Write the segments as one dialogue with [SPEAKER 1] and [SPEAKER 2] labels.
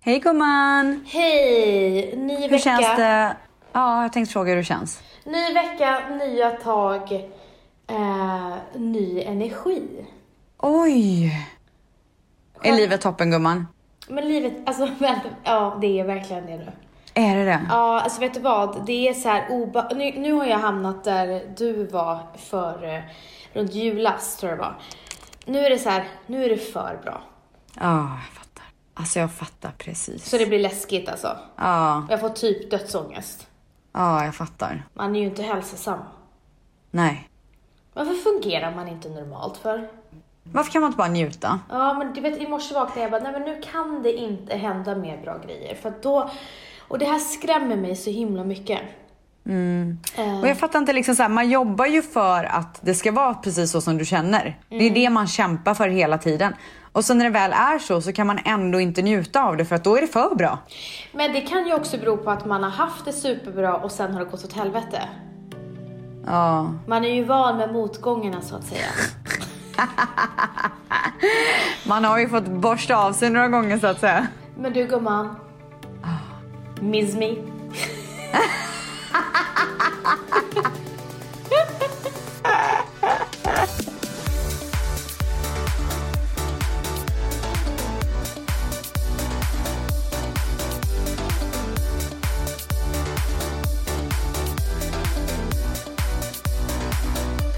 [SPEAKER 1] Hej gumman!
[SPEAKER 2] Hej! Ny vecka.
[SPEAKER 1] Hur känns det? Ja, jag tänkte fråga hur det känns.
[SPEAKER 2] Ny vecka, nya tag, eh, ny energi.
[SPEAKER 1] Oj! Är livet toppen gumman?
[SPEAKER 2] Men livet, alltså men, ja det är verkligen det nu.
[SPEAKER 1] Är det det?
[SPEAKER 2] Ja, alltså vet du vad? Det är så här oba- nu, nu har jag hamnat där du var för eh, runt julas tror jag det var. Nu är det så här, nu är det för bra.
[SPEAKER 1] Ja, jag fattar. Alltså jag fattar precis.
[SPEAKER 2] Så det blir läskigt alltså.
[SPEAKER 1] Ja,
[SPEAKER 2] Jag får typ dödsångest.
[SPEAKER 1] ja jag fattar.
[SPEAKER 2] Man är ju inte hälsosam.
[SPEAKER 1] Nej.
[SPEAKER 2] Varför fungerar man inte normalt för?
[SPEAKER 1] Varför kan man inte bara njuta?
[SPEAKER 2] Ja, men du vet i morse vaknade jag bara, nej men nu kan det inte hända mer bra grejer. För att då, och det här skrämmer mig så himla mycket.
[SPEAKER 1] Och jag fattar inte, liksom så här, man jobbar ju för att det ska vara precis så som du känner. Det är det man kämpar för hela tiden. Och sen när det väl är så, så kan man ändå inte njuta av det för att då är det för bra.
[SPEAKER 2] Men det kan ju också bero på att man har haft det superbra och sen har det gått åt helvete.
[SPEAKER 1] Ja.
[SPEAKER 2] Man är ju van med motgångarna så att säga.
[SPEAKER 1] Man har ju fått borsta av sig några gånger så att säga.
[SPEAKER 2] Men du gumman.
[SPEAKER 1] Ah.
[SPEAKER 2] Miss me.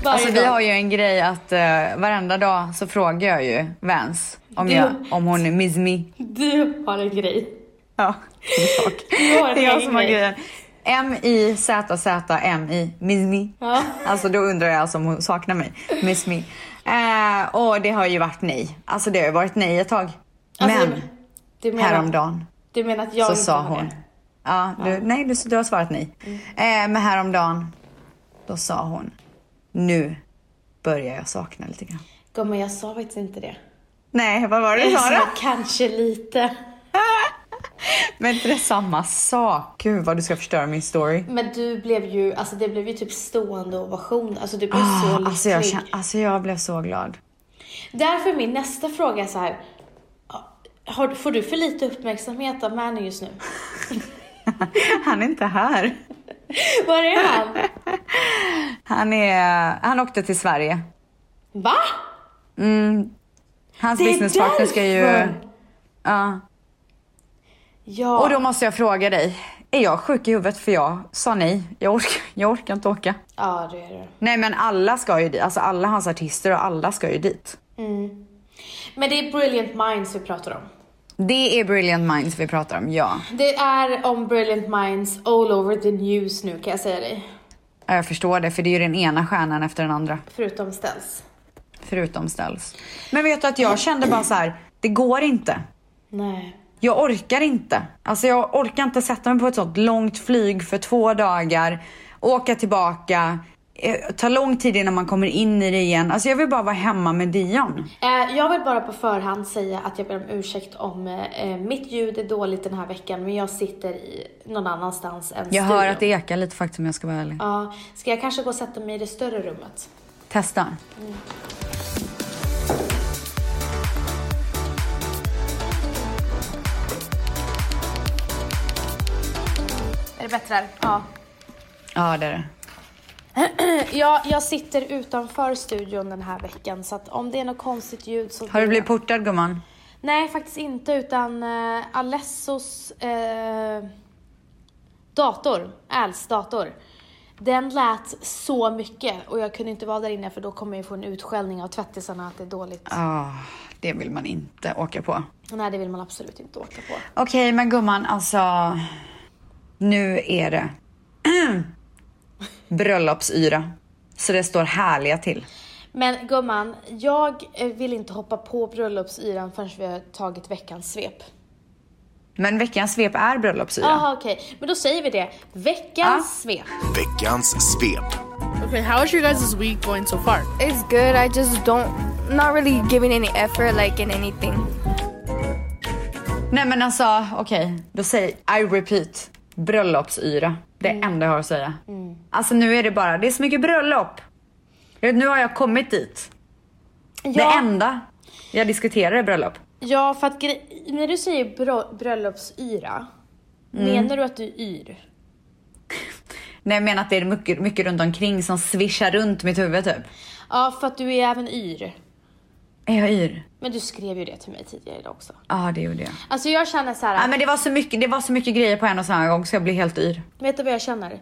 [SPEAKER 2] Varje
[SPEAKER 1] Alltså vi
[SPEAKER 2] dag.
[SPEAKER 1] har ju en grej att eh, varenda dag så frågar jag ju Vans om,
[SPEAKER 2] Du-
[SPEAKER 1] jag, om hon är Miss Me.
[SPEAKER 2] Du har en grej.
[SPEAKER 1] Ja,
[SPEAKER 2] Du har en
[SPEAKER 1] det är jag
[SPEAKER 2] egen
[SPEAKER 1] som har
[SPEAKER 2] grej.
[SPEAKER 1] grejen. M-I-Z-Z-M-I, Miss Me.
[SPEAKER 2] Ja.
[SPEAKER 1] Alltså då undrar jag alltså om hon saknar mig, Miss Me. Eh, och det har ju varit nej. Alltså det har ju varit nej ett tag.
[SPEAKER 2] Alltså,
[SPEAKER 1] Men
[SPEAKER 2] du menar,
[SPEAKER 1] häromdagen
[SPEAKER 2] Du menar att jag
[SPEAKER 1] så
[SPEAKER 2] inte
[SPEAKER 1] sa
[SPEAKER 2] har
[SPEAKER 1] hon.
[SPEAKER 2] det? Mm.
[SPEAKER 1] Ja, du, nej du, du har svarat nej. Eh, men häromdagen, då sa hon, nu börjar jag sakna lite grann.
[SPEAKER 2] Gumman, jag sa faktiskt inte det.
[SPEAKER 1] Nej, vad var det du sa då?
[SPEAKER 2] Eh, Så kanske lite.
[SPEAKER 1] Men inte det är samma sak? Gud vad du ska förstöra min story.
[SPEAKER 2] Men du blev ju, alltså det blev ju typ stående ovation. Alltså du blev så
[SPEAKER 1] Ah,
[SPEAKER 2] lycklig.
[SPEAKER 1] alltså, jag känner, alltså jag blev så glad.
[SPEAKER 2] Därför är min nästa fråga så här. Ah, Har, får du för lite uppmärksamhet av Manu just nu?
[SPEAKER 1] Han är inte här.
[SPEAKER 2] Var är han?
[SPEAKER 1] Han, är, han åkte till Sverige.
[SPEAKER 2] Va?
[SPEAKER 1] Hans
[SPEAKER 2] Det är
[SPEAKER 1] businesspartner ska ju...
[SPEAKER 2] därför.
[SPEAKER 1] Ja.
[SPEAKER 2] Ja.
[SPEAKER 1] Och då måste jag fråga dig. Är jag sjuk i huvudet? För jag sa nej. Jag orkar, jag orkar inte åka.
[SPEAKER 2] Ja, det är det.
[SPEAKER 1] Nej men alla ska ju dit. Alltså alla hans artister och alla ska ju dit.
[SPEAKER 2] Men det är Brilliant Minds vi pratar om.
[SPEAKER 1] Det är Brilliant Minds vi pratar om, ja.
[SPEAKER 2] Det är om Brilliant Minds all over the news nu kan jag säga dig.
[SPEAKER 1] Ja, Jag förstår det, för det är ju den ena stjärnan efter den andra.
[SPEAKER 2] Förutom ställs.
[SPEAKER 1] Förutom ställs. Men vet du att jag kände bara så här, det går inte.
[SPEAKER 2] Nej.
[SPEAKER 1] Jag orkar inte. Alltså jag orkar inte sätta mig på ett sånt långt flyg för två dagar, åka tillbaka, eh, ta lång tid innan man kommer in i det igen. Alltså jag vill bara vara hemma med Dion.
[SPEAKER 2] Eh, Jag vill bara på förhand säga att jag ber om ursäkt om eh, mitt ljud är dåligt den här veckan men jag sitter i någon annanstans än
[SPEAKER 1] Jag hör att det ekar lite faktiskt om jag ska vara ärlig.
[SPEAKER 2] Ja, ska jag kanske gå och sätta mig i det större rummet?
[SPEAKER 1] Testa.
[SPEAKER 2] Är det bättre här? Ja.
[SPEAKER 1] Ja det är det.
[SPEAKER 2] Eh, Jag, jag sitter utanför studion den här veckan så att om det är något konstigt ljud så...
[SPEAKER 1] Har du blivit portad gumman?
[SPEAKER 2] Nej, faktiskt inte utan eh, Alessos eh, dator, Als dator. Den lät så mycket och jag kunde inte vara där inne för då kommer jag få en utskällning av tvättisarna att det är dåligt.
[SPEAKER 1] Ja, Ah, det vill man inte åka på.
[SPEAKER 2] Nej, det vill man absolut inte åka på.
[SPEAKER 1] Okej men gumman alltså. Nu är det bröllopsyra. Så det står härliga till.
[SPEAKER 2] Men gumman, jag eh, vill inte hoppa på bröllopsyran förrän vi har tagit veckans svep.
[SPEAKER 1] Men veckans svep är bröllopsyra.
[SPEAKER 2] Jaha, okej. Men då säger vi det. Veckans svep.
[SPEAKER 3] Veckans svep.
[SPEAKER 4] Okay, how is your guys' week going so far?
[SPEAKER 5] It's good. I just don't, not really giving any effort, like in anything.
[SPEAKER 1] Nej men alltså okej, då säger I repeat. Bröllopsyra. Det är enda jag har att säga. Alltså nu är det bara, det är så mycket bröllop. Jag vet, Nu har jag kommit dit. Det
[SPEAKER 2] Ja,
[SPEAKER 1] enda jag diskuterar är bröllop.
[SPEAKER 2] Ja, för att gre- när du säger bro- bröllopsyra, menar du att du är yr?
[SPEAKER 1] Nej jag menar att det är mycket, mycket runt omkring som svischar runt mitt huvud typ.
[SPEAKER 2] Ja, för att du är även yr.
[SPEAKER 1] Är jag yr?
[SPEAKER 2] Men du skrev ju det till mig tidigare idag också.
[SPEAKER 1] Ja det gjorde jag.
[SPEAKER 2] Alltså jag känner så här.
[SPEAKER 1] Nej men det var, så mycket, det var så mycket grejer på en och samma gång så jag blev helt yr.
[SPEAKER 2] Vet du vad jag känner?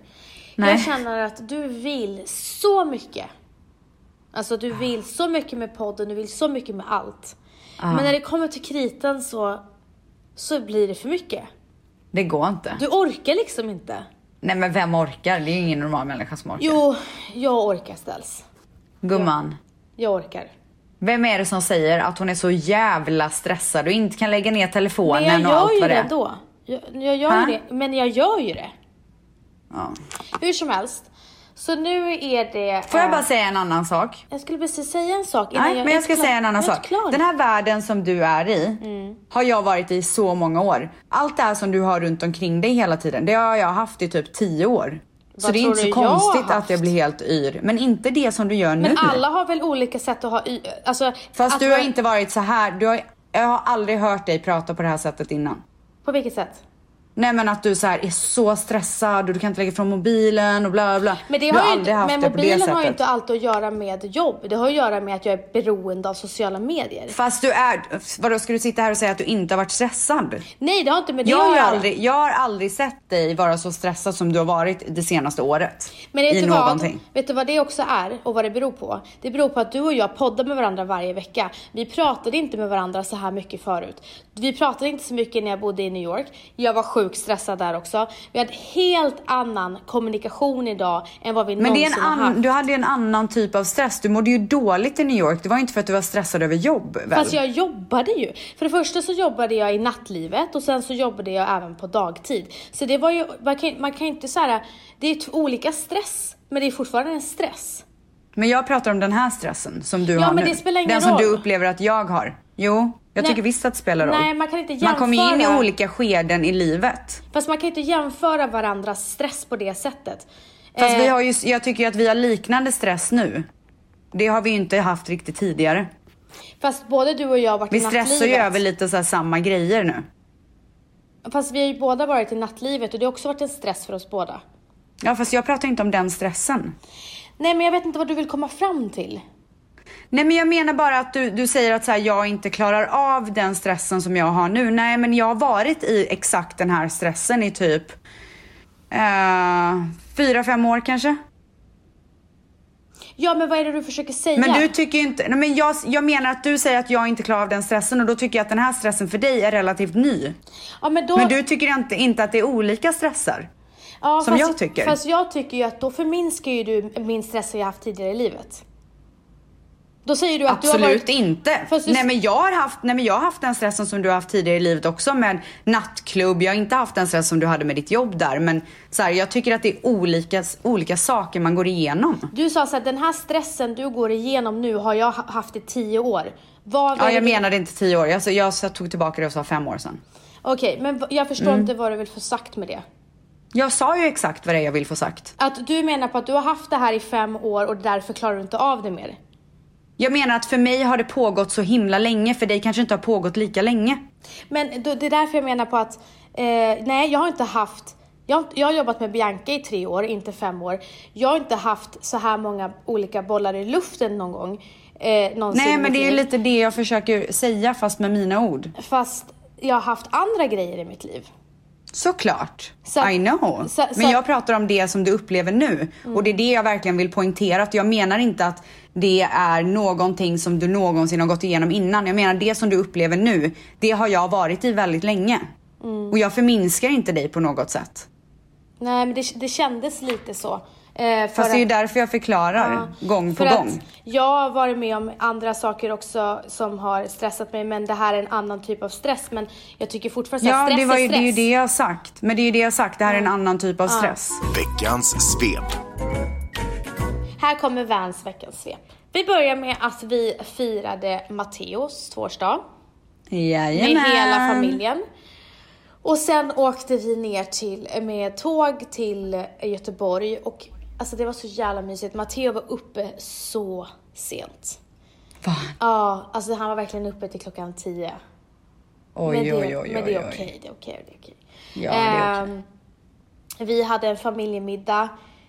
[SPEAKER 1] Nej.
[SPEAKER 2] Jag känner att du vill så mycket. Alltså du vill så mycket med podden, du vill så mycket med allt. Men när det kommer till kritan så, så blir det för mycket.
[SPEAKER 1] Det går inte.
[SPEAKER 2] Du orkar liksom inte.
[SPEAKER 1] Nej men vem orkar? Det är ju ingen normal människa som orkar.
[SPEAKER 2] Jo, jag orkar ställs.
[SPEAKER 1] Gumman.
[SPEAKER 2] Jag orkar.
[SPEAKER 1] Vem är det som säger att hon är så jävla stressad och inte kan lägga ner
[SPEAKER 2] Men
[SPEAKER 1] telefonen
[SPEAKER 2] jag
[SPEAKER 1] och
[SPEAKER 2] gör
[SPEAKER 1] allt
[SPEAKER 2] ju
[SPEAKER 1] vad det
[SPEAKER 2] det
[SPEAKER 1] är?
[SPEAKER 2] då. Jag, jag gör
[SPEAKER 1] Ha?
[SPEAKER 2] ju det. Men jag gör ju det.
[SPEAKER 1] Ja.
[SPEAKER 2] Hur som helst. Så nu är det...
[SPEAKER 1] Får jag
[SPEAKER 2] eh,
[SPEAKER 1] bara säga en annan sak?
[SPEAKER 2] jag skulle precis säga en sak innan
[SPEAKER 1] Nej, men
[SPEAKER 2] är
[SPEAKER 1] jag ska
[SPEAKER 2] klar.
[SPEAKER 1] säga en annan
[SPEAKER 2] Jag är
[SPEAKER 1] sak.
[SPEAKER 2] klar. Mm.
[SPEAKER 1] Den här världen som du är i har jag varit i så många år. Allt det här som du har runt omkring dig hela tiden, det har jag haft i typ 10 år. så
[SPEAKER 2] Vad
[SPEAKER 1] det är
[SPEAKER 2] tror
[SPEAKER 1] inte så
[SPEAKER 2] du jag har
[SPEAKER 1] konstigt att
[SPEAKER 2] haft?
[SPEAKER 1] jag blir helt yr. Men inte det som du gör nu.
[SPEAKER 2] Men alla har väl olika sätt att ha y- alltså,
[SPEAKER 1] Fast
[SPEAKER 2] att
[SPEAKER 1] du har
[SPEAKER 2] vara-
[SPEAKER 1] inte varit så här. Du har, jag har aldrig hört dig prata på det här sättet innan.
[SPEAKER 2] På vilket sätt?
[SPEAKER 1] Nej men att du så här är så stressad och du kan inte lägga ifrån mobilen och bla bla bla.
[SPEAKER 2] Men, det
[SPEAKER 1] du
[SPEAKER 2] har ju,
[SPEAKER 1] aldrig
[SPEAKER 2] inte-
[SPEAKER 1] haft
[SPEAKER 2] men
[SPEAKER 1] det på det
[SPEAKER 2] mobilen
[SPEAKER 1] sättet.
[SPEAKER 2] har ju inte allt att göra med jobb. Det har att göra med att jag är beroende av sociala medier.
[SPEAKER 1] Fast du är, vadå ska du sitta här och säga att du inte har varit stressad?
[SPEAKER 2] Nej, det har inte med det
[SPEAKER 1] Jag
[SPEAKER 2] att
[SPEAKER 1] har,
[SPEAKER 2] göra.
[SPEAKER 1] aldrig, jag har aldrig sett dig vara så stressad som du har varit det senaste året.
[SPEAKER 2] Men vet
[SPEAKER 1] I
[SPEAKER 2] du, vad?
[SPEAKER 1] någonting.
[SPEAKER 2] vet du vad det också är och vad det beror på? Det beror på att du och jag poddar med varandra varje vecka. Vi pratade inte med varandra så här mycket förut. Vi pratade inte så mycket när jag bodde i New York. Jag var sjukt stressad där också. Vi hade helt annan kommunikation idag än vad vi
[SPEAKER 1] Men det är
[SPEAKER 2] någonsin
[SPEAKER 1] en
[SPEAKER 2] har haft.
[SPEAKER 1] ann, du hade ju en annan typ av stress. Du mådde ju dåligt i New York. Det var ju inte för att du var stressad över jobb väl?
[SPEAKER 2] Fast jag jobbade ju. För det första så jobbade jag i nattlivet och sen så jobbade jag även på dagtid. Så det var ju, man kan, man kan inte så här, det är t- olika stress, men det är fortfarande en stress.
[SPEAKER 1] Men jag pratar om den här stressen som du
[SPEAKER 2] Ja,
[SPEAKER 1] har
[SPEAKER 2] men
[SPEAKER 1] nu.
[SPEAKER 2] det spelar ingen
[SPEAKER 1] den som
[SPEAKER 2] roll.
[SPEAKER 1] du upplever att jag har. Jo, jag
[SPEAKER 2] Nej.
[SPEAKER 1] tycker visst att det spelar roll.
[SPEAKER 2] Nej, man kan inte
[SPEAKER 1] Man kommer ju in i
[SPEAKER 2] jämföra.
[SPEAKER 1] olika skeden i livet.
[SPEAKER 2] Fast man kan inte jämföra varandras stress på det sättet.
[SPEAKER 1] Fast
[SPEAKER 2] Eh,
[SPEAKER 1] vi har ju, jag tycker ju att vi har liknande stress nu. Det har vi ju inte haft riktigt tidigare.
[SPEAKER 2] fast både du och jag har varit
[SPEAKER 1] Vi
[SPEAKER 2] i nattlivet.
[SPEAKER 1] stressar ju över lite så här samma grejer nu.
[SPEAKER 2] Fast vi har ju båda varit i nattlivet och det har också varit en stress för oss båda.
[SPEAKER 1] Ja fast jag pratar inte om den stressen.
[SPEAKER 2] Nej men jag vet inte vad du vill komma fram till.
[SPEAKER 1] Nej men jag menar bara att du, du säger att så här, jag inte klarar av den stressen som jag har nu. Nej men jag har varit i exakt den här stressen i typ eh, fyra, fem år kanske.
[SPEAKER 2] Ja men vad är det du försöker säga?
[SPEAKER 1] Men du tycker ju inte, nej men jag, jag menar att du säger att jag inte klarar av den stressen och då tycker jag att den här stressen för dig är relativt ny.
[SPEAKER 2] ja, men då...
[SPEAKER 1] Men du tycker inte, inte att det är olika stressar?
[SPEAKER 2] Ja,
[SPEAKER 1] Som
[SPEAKER 2] fast,
[SPEAKER 1] jag tycker.
[SPEAKER 2] Fast jag tycker ju att då förminskar ju du min stress som jag haft tidigare i livet. Då säger du att du har
[SPEAKER 1] Absolut
[SPEAKER 2] varit...
[SPEAKER 1] inte.
[SPEAKER 2] Fast du-
[SPEAKER 1] Nej men, jag har haft, nej men jag har haft den stressen som du har haft tidigare i livet också med nattklubb. Jag har inte haft den stress som du hade med ditt jobb där. Men så här, jag tycker att det är olika, olika saker man går igenom.
[SPEAKER 2] Du sa så här, den här stressen du går igenom nu har jag ha- haft i tio år. Vad
[SPEAKER 1] Ja,
[SPEAKER 2] vill
[SPEAKER 1] jag
[SPEAKER 2] du-
[SPEAKER 1] menade inte tio år. Jag, jag, jag tog tillbaka det och sa fem år sedan.
[SPEAKER 2] Okej, men v- jag förstår
[SPEAKER 1] Mm.
[SPEAKER 2] inte vad du vill få sagt med det.
[SPEAKER 1] Jag sa ju exakt vad det är jag vill få sagt.
[SPEAKER 2] Att du menar på att du har haft det här i fem år och därför klarar du inte av det mer.
[SPEAKER 1] Jag menar att för mig har det pågått så himla länge. För dig kanske inte har pågått lika länge.
[SPEAKER 2] Men då, det är därför jag menar på att, eh, nej jag har inte haft, jag, har inte- jag har jobbat med Bianca i tre år, inte fem år. Jag har inte haft så här många olika bollar i luften någon gång. Eh, någonsin i
[SPEAKER 1] Nej men
[SPEAKER 2] mitt
[SPEAKER 1] det är ju
[SPEAKER 2] liv.
[SPEAKER 1] lite det jag försöker säga fast med mina ord.
[SPEAKER 2] Fast jag har haft andra grejer i mitt liv.
[SPEAKER 1] Såklart.
[SPEAKER 2] Så-
[SPEAKER 1] I know.
[SPEAKER 2] så- så- Mm.
[SPEAKER 1] men jag pratar om det som du upplever nu. Och det är det jag verkligen vill poängtera. Att jag menar inte att det är någonting som du någonsin har gått igenom innan. Jag menar det som du upplever nu, det har jag varit i väldigt länge.
[SPEAKER 2] Mm.
[SPEAKER 1] Och jag förminskar inte dig på något sätt.
[SPEAKER 2] Nej men det, det kändes lite så. Eh, för
[SPEAKER 1] Fast det är ju
[SPEAKER 2] att-
[SPEAKER 1] därför jag förklarar
[SPEAKER 2] Ja,
[SPEAKER 1] gång på
[SPEAKER 2] för
[SPEAKER 1] gång.
[SPEAKER 2] Att jag har varit med om andra saker också som har stressat mig men det här är en annan typ av stress. Men jag tycker fortfarande så här,
[SPEAKER 1] Ja,
[SPEAKER 2] stress
[SPEAKER 1] det, var ju,
[SPEAKER 2] är
[SPEAKER 1] det
[SPEAKER 2] stress.
[SPEAKER 1] är ju det jag har sagt. Men det är ju det jag har sagt, det här är en annan typ av stress.
[SPEAKER 3] Veckans svep.
[SPEAKER 2] Här kommer Vans veckans svep. Vi börjar med att vi firade Matteos tvåårsdag med
[SPEAKER 1] Jajamän.
[SPEAKER 2] hela familjen. Och sen åkte vi ner till, med tåg till Göteborg och alltså det var så jävla mysigt. Matteo var uppe så sent.
[SPEAKER 1] Va?
[SPEAKER 2] Ja, alltså han var verkligen uppe till klockan 10
[SPEAKER 1] Oj,
[SPEAKER 2] men det,
[SPEAKER 1] oj, oj, oj.
[SPEAKER 2] men det är
[SPEAKER 1] oj.
[SPEAKER 2] okej, det är okej, det är okej.
[SPEAKER 1] Ja, det är okej.
[SPEAKER 2] Ehm, Vi hade en familjemiddag.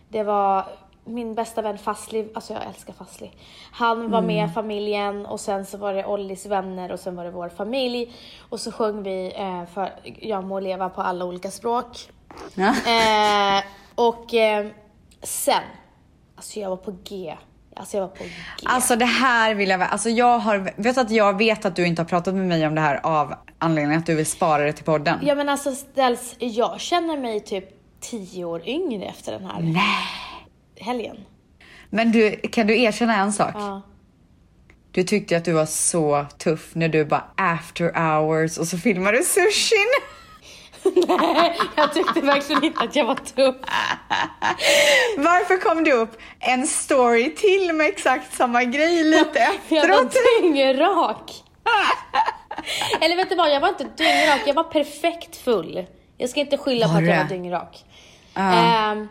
[SPEAKER 2] Det var min bästa vän Fazli, alltså jag älskar Fazli. Han var
[SPEAKER 1] Mm.
[SPEAKER 2] med familjen och sen så var det Ollis vänner och sen var det vår familj. Och så sjöng vi eh, för Jag må leva på alla olika språk.
[SPEAKER 1] Ja.
[SPEAKER 2] Eh, och eh, sen, alltså jag var på G. Alltså jag var på G.
[SPEAKER 1] Alltså det här vill jag, vä- alltså jag har, vet att jag vet att du inte har pratat med mig om det här av anledningen att du vill spara det till podden.
[SPEAKER 2] Ja men alltså ställs, jag känner mig typ tio år yngre efter den här helgen.
[SPEAKER 1] Men du, kan du erkänna en sak?
[SPEAKER 2] Ja.
[SPEAKER 1] Du tyckte att du var så tuff när du bara after hours och så filmade du sushin.
[SPEAKER 2] Nej, jag tyckte verkligen inte att jag var tuff.
[SPEAKER 1] Varför kom du upp en story till med exakt samma grej lite
[SPEAKER 2] Jag
[SPEAKER 1] efteråt?
[SPEAKER 2] var dyngrak. Eller vet du vad, jag var inte dyngrak, jag var perfekt full. Jag ska inte skylla på
[SPEAKER 1] Var
[SPEAKER 2] att jag
[SPEAKER 1] du?
[SPEAKER 2] var dyngrak.
[SPEAKER 1] Ja.
[SPEAKER 2] Ehm,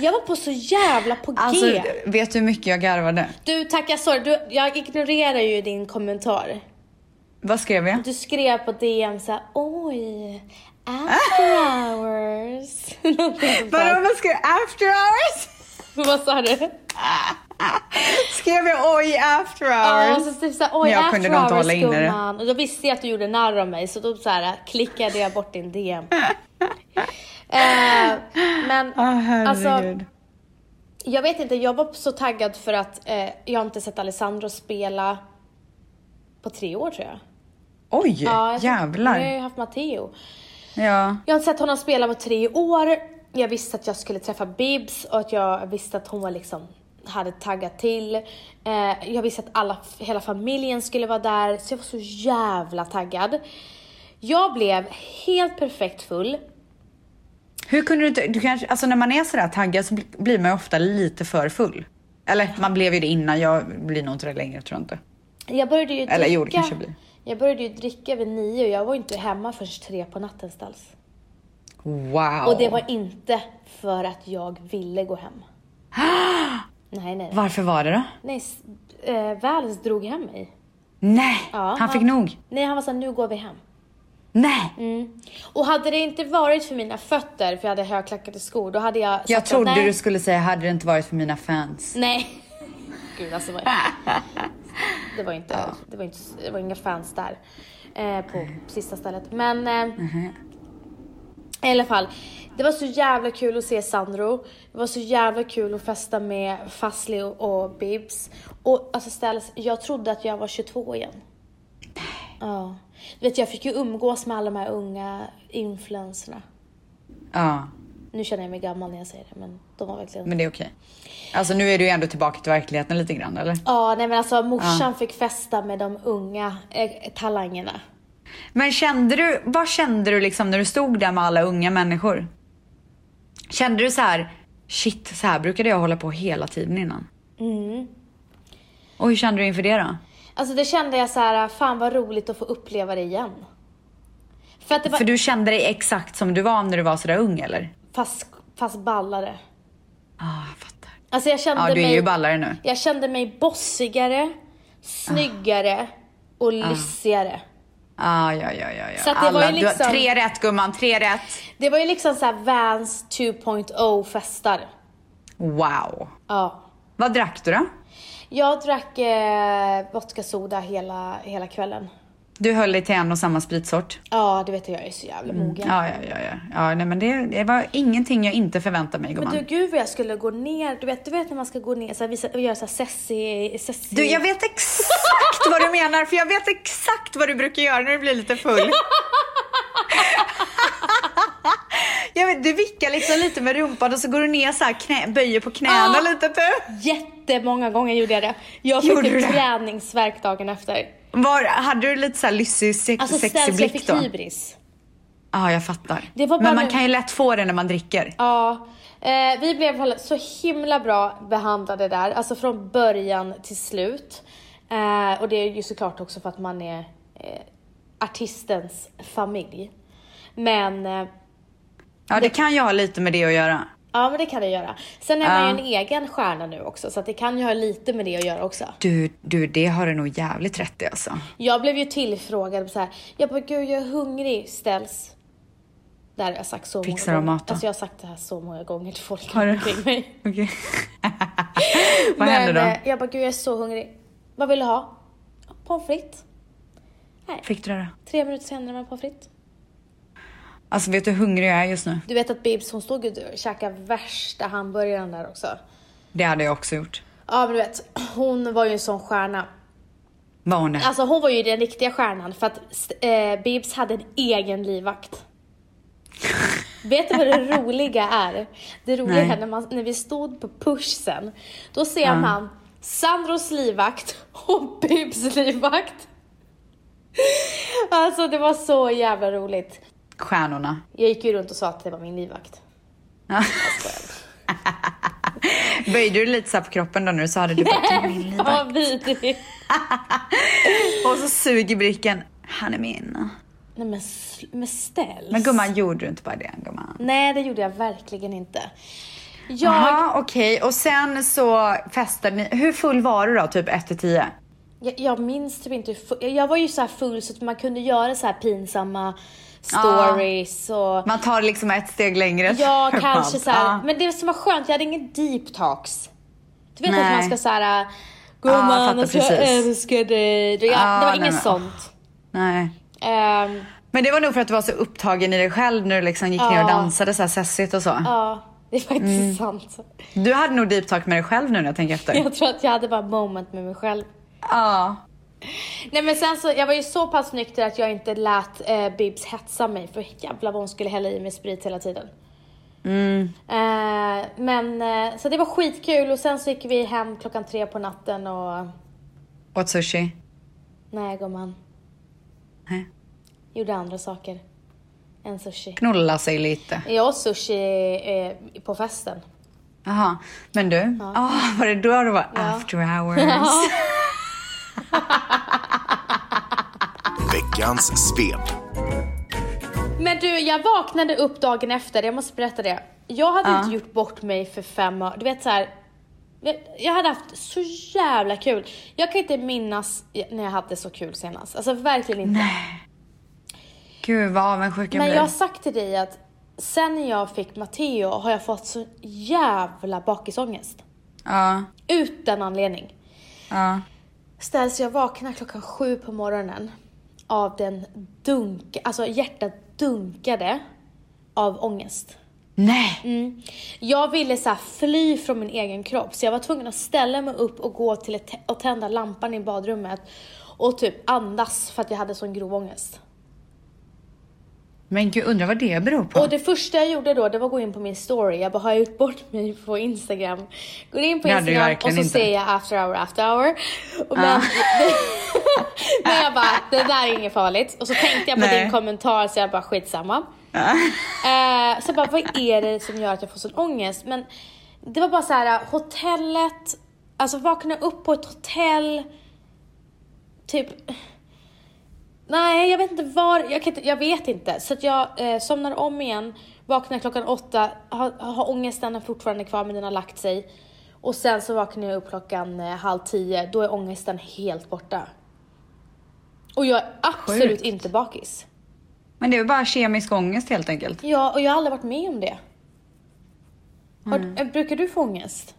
[SPEAKER 2] jag var på så jävla på G.
[SPEAKER 1] Alltså, vet du hur mycket jag garvade?
[SPEAKER 2] Du tackar sorry, du, jag ignorerar ju din kommentar.
[SPEAKER 1] Vad skrev jag?
[SPEAKER 2] Du skrev på DM såhär, oj, after hours. Någonting sånt
[SPEAKER 1] Vadå,
[SPEAKER 2] där.
[SPEAKER 1] vad skrev jag? After hours?
[SPEAKER 2] Vad sa du?
[SPEAKER 1] Skrev jag oj after
[SPEAKER 2] Ja, och
[SPEAKER 1] hours?
[SPEAKER 2] så typ såhär, oj,
[SPEAKER 1] Jag
[SPEAKER 2] after
[SPEAKER 1] kunde nog inte
[SPEAKER 2] hours
[SPEAKER 1] hålla inne det.
[SPEAKER 2] gumman. Och då visste jag att du gjorde narr av mig så då så här, klickade jag bort din DM. eh, men
[SPEAKER 1] Ah,
[SPEAKER 2] alltså,
[SPEAKER 1] herregud.
[SPEAKER 2] jag vet inte, jag var så taggad för att eh, jag har inte sett Alessandro spela på tre år tror jag.
[SPEAKER 1] oj,
[SPEAKER 2] jag tror-
[SPEAKER 1] jävlar.
[SPEAKER 2] Nu har jag haft Matteo.
[SPEAKER 1] Ja.
[SPEAKER 2] Jag har inte sett honom spela på tre år. Jag visste att jag skulle träffa Bibs och att jag visste att hon var liksom hade taggat till. Eh, jag visste att alla, hela familjen skulle vara där, så jag var så jävla taggad. Jag blev helt perfekt full.
[SPEAKER 1] Hur kunde du inte, du kanske, alltså när man är sådär taggad så bli- blir man ju ofta lite för full. Eller man blev ju det innan, jag blir nog inte det längre tror jag inte.
[SPEAKER 2] Jag började ju dricka,
[SPEAKER 1] Eller jo, det kanske blir.
[SPEAKER 2] Jag började ju dricka vid nio och jag var ju inte hemma förrän tre på natten ställs.
[SPEAKER 1] Wow.
[SPEAKER 2] Och det var inte för att jag ville gå hem. nej, nej.
[SPEAKER 1] Varför var det då?
[SPEAKER 2] Nej, s- eh, Väls drog hem mig.
[SPEAKER 1] Nej,
[SPEAKER 2] Ja,
[SPEAKER 1] han fick nog.
[SPEAKER 2] Nej, han var såhär, nu går vi hem.
[SPEAKER 1] Nej.
[SPEAKER 2] Mm, Och hade det inte varit för mina fötter, för jag hade högklackade skor, då hade jag sagt
[SPEAKER 1] Jag
[SPEAKER 2] att
[SPEAKER 1] trodde
[SPEAKER 2] nej,
[SPEAKER 1] du skulle säga, hade det inte varit för mina fans.
[SPEAKER 2] Nej. Gud alltså vad det var inte, det var inte, det var inga fans där. Eh, på sista stället. Men eh, i alla fall. Det var så jävla kul att se Sandro. Det var så jävla kul att festa med Fazli och, och Bibs. Och alltså ställs, jag trodde att jag var 22 igen. Ja. Du vet jag fick ju umgås med alla de här unga influencerna.
[SPEAKER 1] Ja,
[SPEAKER 2] Nu känner jag mig gammal när jag säger det men de var verkligen
[SPEAKER 1] men det är okej. Alltså nu är du ju ändå tillbaka till verkligheten lite grann eller?
[SPEAKER 2] Ja, nej men alltså morsan fick festa med de unga eh, talangerna.
[SPEAKER 1] Men kände du, vad kände du liksom när du stod där med alla unga människor? Kände du så här, shit, så här brukade jag hålla på hela tiden innan?
[SPEAKER 2] Mm.
[SPEAKER 1] Och hur kände du inför det då?
[SPEAKER 2] Alltså det kände jag så här, fan vad roligt att få uppleva det igen. För att det var,
[SPEAKER 1] För du kände dig exakt som du var när du var sådär ung eller?
[SPEAKER 2] fast, fast ballare.
[SPEAKER 1] Ja, jag fattar.
[SPEAKER 2] Alltså jag kände
[SPEAKER 1] Ja, du är
[SPEAKER 2] mig,
[SPEAKER 1] ju ballare nu.
[SPEAKER 2] jag kände mig bossigare, snyggare och lyssigare.
[SPEAKER 1] Ah, ja, ja, ja, ja.
[SPEAKER 2] Så att det var ju
[SPEAKER 1] du har-
[SPEAKER 2] liksom-
[SPEAKER 1] Tre rätt gumman, tre rätt.
[SPEAKER 2] Det var ju liksom så här Vans 2.0 festar.
[SPEAKER 1] Wow.
[SPEAKER 2] Ja.
[SPEAKER 1] Vad drack du då?
[SPEAKER 2] Jag drack eh, vodka soda hela, hela kvällen.
[SPEAKER 1] Du höll dig till en och samma spritsort.
[SPEAKER 2] Ja, det vet jag, jag är så jävla mogen.
[SPEAKER 1] Mm. Ja, ja, ja, ja. ja nej, men det, det var ingenting jag inte förväntade mig gumman.
[SPEAKER 2] Du gud vad jag skulle gå ner, du vet, du vet när man ska gå ner så här, visa, och göra såhär sessi, sessi.
[SPEAKER 1] Du, jag vet exakt vad du menar, för jag vet exakt vad du brukar göra när du blir lite full. Jag vet, du vickar liksom lite med rumpan och så går du ner så här, knä, böjer på knäna
[SPEAKER 2] Ah.
[SPEAKER 1] lite typ.
[SPEAKER 2] Jättemånga gånger gjorde jag det. Jag
[SPEAKER 1] Gjorde
[SPEAKER 2] fick
[SPEAKER 1] du
[SPEAKER 2] typ
[SPEAKER 1] det?
[SPEAKER 2] träningsvärk dagen efter.
[SPEAKER 1] Var, hade du lite så här lyssig, sex,
[SPEAKER 2] Alltså
[SPEAKER 1] sexig
[SPEAKER 2] ställs jag
[SPEAKER 1] blick
[SPEAKER 2] fick
[SPEAKER 1] då? Ja,
[SPEAKER 2] hybris.
[SPEAKER 1] ah, jag fattar.
[SPEAKER 2] Det var bara
[SPEAKER 1] Men man
[SPEAKER 2] nu-
[SPEAKER 1] kan ju lätt få det när man dricker.
[SPEAKER 2] Ja, eh, vi blev så himla bra behandlade där, alltså från början till slut. Eh, och det är ju såklart också för att man är eh, artistens familj. Men eh,
[SPEAKER 1] Ja, det kan ju ha lite med det att göra.
[SPEAKER 2] Ja men det kan det göra. Sen är man
[SPEAKER 1] Ja.
[SPEAKER 2] ju en egen stjärna nu också så att det kan ju ha lite med det att göra också.
[SPEAKER 1] Du, du, det har du nog jävligt rätt i alltså.
[SPEAKER 2] Jag blev ju tillfrågad så här. jag bara gud jag är hungrig, ställs. Det här har jag sagt så
[SPEAKER 1] Fixar
[SPEAKER 2] många
[SPEAKER 1] de
[SPEAKER 2] gånger.
[SPEAKER 1] maten?
[SPEAKER 2] Alltså jag har sagt det här så många gånger till folk
[SPEAKER 1] Har du?
[SPEAKER 2] omkring mig.
[SPEAKER 1] Okej. Vad
[SPEAKER 2] Men,
[SPEAKER 1] hände då?
[SPEAKER 2] eh, Jag bara gud jag är så hungrig. Vad vill du ha? Pommes frites.
[SPEAKER 1] Fick du det då?
[SPEAKER 2] Tre minuter senare med pommes frites.
[SPEAKER 1] Alltså vet du hur hungrig jag är just nu?
[SPEAKER 2] Du vet att Bibs hon stod ju och käkade värsta hamburgaren där också.
[SPEAKER 1] Det hade jag också gjort.
[SPEAKER 2] Ja men du vet, hon var ju en sån stjärna.
[SPEAKER 1] Var hon det?
[SPEAKER 2] Alltså hon var ju den riktiga stjärnan för att st- eh, Bibs hade en egen livvakt. Vet du vad det roliga är? Det roliga
[SPEAKER 1] Nej.
[SPEAKER 2] är när, man, när vi stod på push sen, då ser man Sandros livvakt och Bibs livvakt. Alltså det var så jävla roligt.
[SPEAKER 1] Stjärnorna.
[SPEAKER 2] Jag gick ju runt och sa att det var min livvakt.
[SPEAKER 1] Böjde du lite så här på kroppen då nu så hade du bara "Det är min livvakt."
[SPEAKER 2] Vad vidrigt.
[SPEAKER 1] Och så suger bricken. Han är min.
[SPEAKER 2] Nej men, sl- men ställs.
[SPEAKER 1] Men gumman, gjorde du inte bara det gumman?
[SPEAKER 2] Nej det gjorde jag verkligen inte. Jag,
[SPEAKER 1] Jaha, okej. Och sen så festade ni. Hur full var du då? Typ 1 till 10?
[SPEAKER 2] jag, jag minns typ inte hur full, jag- jag var ju så här full så att man kunde göra så här pinsamma
[SPEAKER 1] Ja.
[SPEAKER 2] stories och
[SPEAKER 1] Man tar liksom ett steg längre.
[SPEAKER 2] ja kanske så här.
[SPEAKER 1] Ja.
[SPEAKER 2] Men det som var skönt, jag hade ingen deep talks. Du vet
[SPEAKER 1] Nej.
[SPEAKER 2] att man ska så här
[SPEAKER 1] jag
[SPEAKER 2] gumman
[SPEAKER 1] fattar
[SPEAKER 2] alltså jag
[SPEAKER 1] precis.
[SPEAKER 2] älskar dig. Det, jag,
[SPEAKER 1] Ja,
[SPEAKER 2] det var
[SPEAKER 1] nej,
[SPEAKER 2] inget
[SPEAKER 1] men-
[SPEAKER 2] sånt.
[SPEAKER 1] Nej.
[SPEAKER 2] Ehm,
[SPEAKER 1] Men det var nog för att du var så upptagen i dig själv när du liksom gick ner och
[SPEAKER 2] Ja.
[SPEAKER 1] dansade så här sessigt och så.
[SPEAKER 2] ja, det är faktiskt
[SPEAKER 1] Mm.
[SPEAKER 2] sant.
[SPEAKER 1] Du hade nog deep talk med dig själv nu när jag tänker efter. Ja.
[SPEAKER 2] Jag tror att jag hade bara moment med mig själv. Nej men sen så, jag var ju så pass nykter att jag inte lät eh, Bibs hetsa mig för jävlar vad hon skulle hälla i mig sprit hela tiden. Eh, men, eh, så det var skitkul och sen så gick vi hem klockan tre på natten och,
[SPEAKER 1] Åt sushi.
[SPEAKER 2] nej gumman,
[SPEAKER 1] Nej.
[SPEAKER 2] gjorde andra saker än sushi.
[SPEAKER 1] Knulla sig lite.
[SPEAKER 2] Jag åt sushi eh, på festen.
[SPEAKER 1] Jaha. Men du, ah, var det då det var after hours?
[SPEAKER 3] Veckans svep.
[SPEAKER 2] Men du, jag vaknade upp dagen efter, jag måste berätta det. Jag hade inte gjort bort mig för fem år. Du vet så här. Jag hade haft så jävla kul. Jag kan inte minnas när jag hade så kul senast. Alltså verkligen inte.
[SPEAKER 1] Gud vad avundsjuk jag
[SPEAKER 2] Men
[SPEAKER 1] blir.
[SPEAKER 2] jag har sagt till dig att sen jag fick Matteo har jag fått så jävla bakisångest.
[SPEAKER 1] Ja,
[SPEAKER 2] Utan anledning.
[SPEAKER 1] ja.
[SPEAKER 2] Ställs jag vaknar klockan sju på morgonen av den dunk, alltså hjärtat dunkade av ångest.
[SPEAKER 1] Nej!
[SPEAKER 2] Jag ville så här fly från min egen kropp så jag var tvungen att ställa mig upp och gå till ett, och tända lampan i badrummet och typ andas för att jag hade sån grov ångest.
[SPEAKER 1] Men gud, undrar vad det beror på.
[SPEAKER 2] Och det första jag gjorde då det var att gå in på min story. Jag bara, har jag gjort bort mig på Instagram? Går in på
[SPEAKER 1] Det hade du
[SPEAKER 2] Instagram och
[SPEAKER 1] verkligen
[SPEAKER 2] så
[SPEAKER 1] inte. Ah.
[SPEAKER 2] ser jag after hour, after hour. Och men, men jag bara, det där är inget farligt. Och så tänkte jag på
[SPEAKER 1] Nej. Ah.
[SPEAKER 2] din kommentar så jag bara, skitsamma. Eh, så jag bara, vad är det som gör att jag får sån ångest? Men det var bara så här, hotellet, alltså vakna upp på ett hotell, typ Nej, jag vet inte var. Jag, kan inte, jag vet inte. Så att jag eh, somnar om igen, vaknar klockan åtta, har, har ångesten fortfarande kvar men den har lagt sig. Och sen så vaknar jag upp klockan eh, halv tio, då är ångesten helt borta. Och jag är absolut
[SPEAKER 1] Sjukt.
[SPEAKER 2] inte bakis.
[SPEAKER 1] Men det är väl bara kemisk ångest helt enkelt.
[SPEAKER 2] Ja, och jag har aldrig varit med om det. Har,
[SPEAKER 1] Mm.
[SPEAKER 2] eh, brukar du få ångest?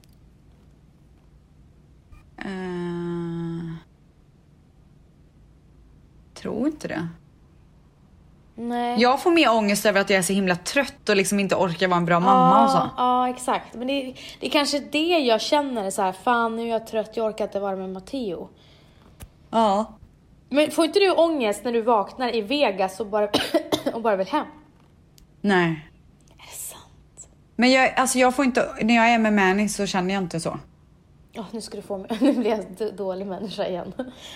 [SPEAKER 1] Eh, tror inte det.
[SPEAKER 2] Nej.
[SPEAKER 1] Jag får mer ångest över att jag är så himla trött och liksom inte orkar vara en bra mamma alltså. och så.
[SPEAKER 2] Ja, ja, exakt. Men det, det är kanske det jag känner så här, fan nu är jag trött, jag orkar inte vara med Matteo.
[SPEAKER 1] Ja.
[SPEAKER 2] Men får inte du ångest när du vaknar i Vegas och bara, och bara vill hem?
[SPEAKER 1] Nej.
[SPEAKER 2] Är det sant?
[SPEAKER 1] Men jag, alltså jag får inte, när jag är med Manny så känner jag inte så.
[SPEAKER 2] Ja, nu ska du få mig. Nu blir jag d- dålig människa igen.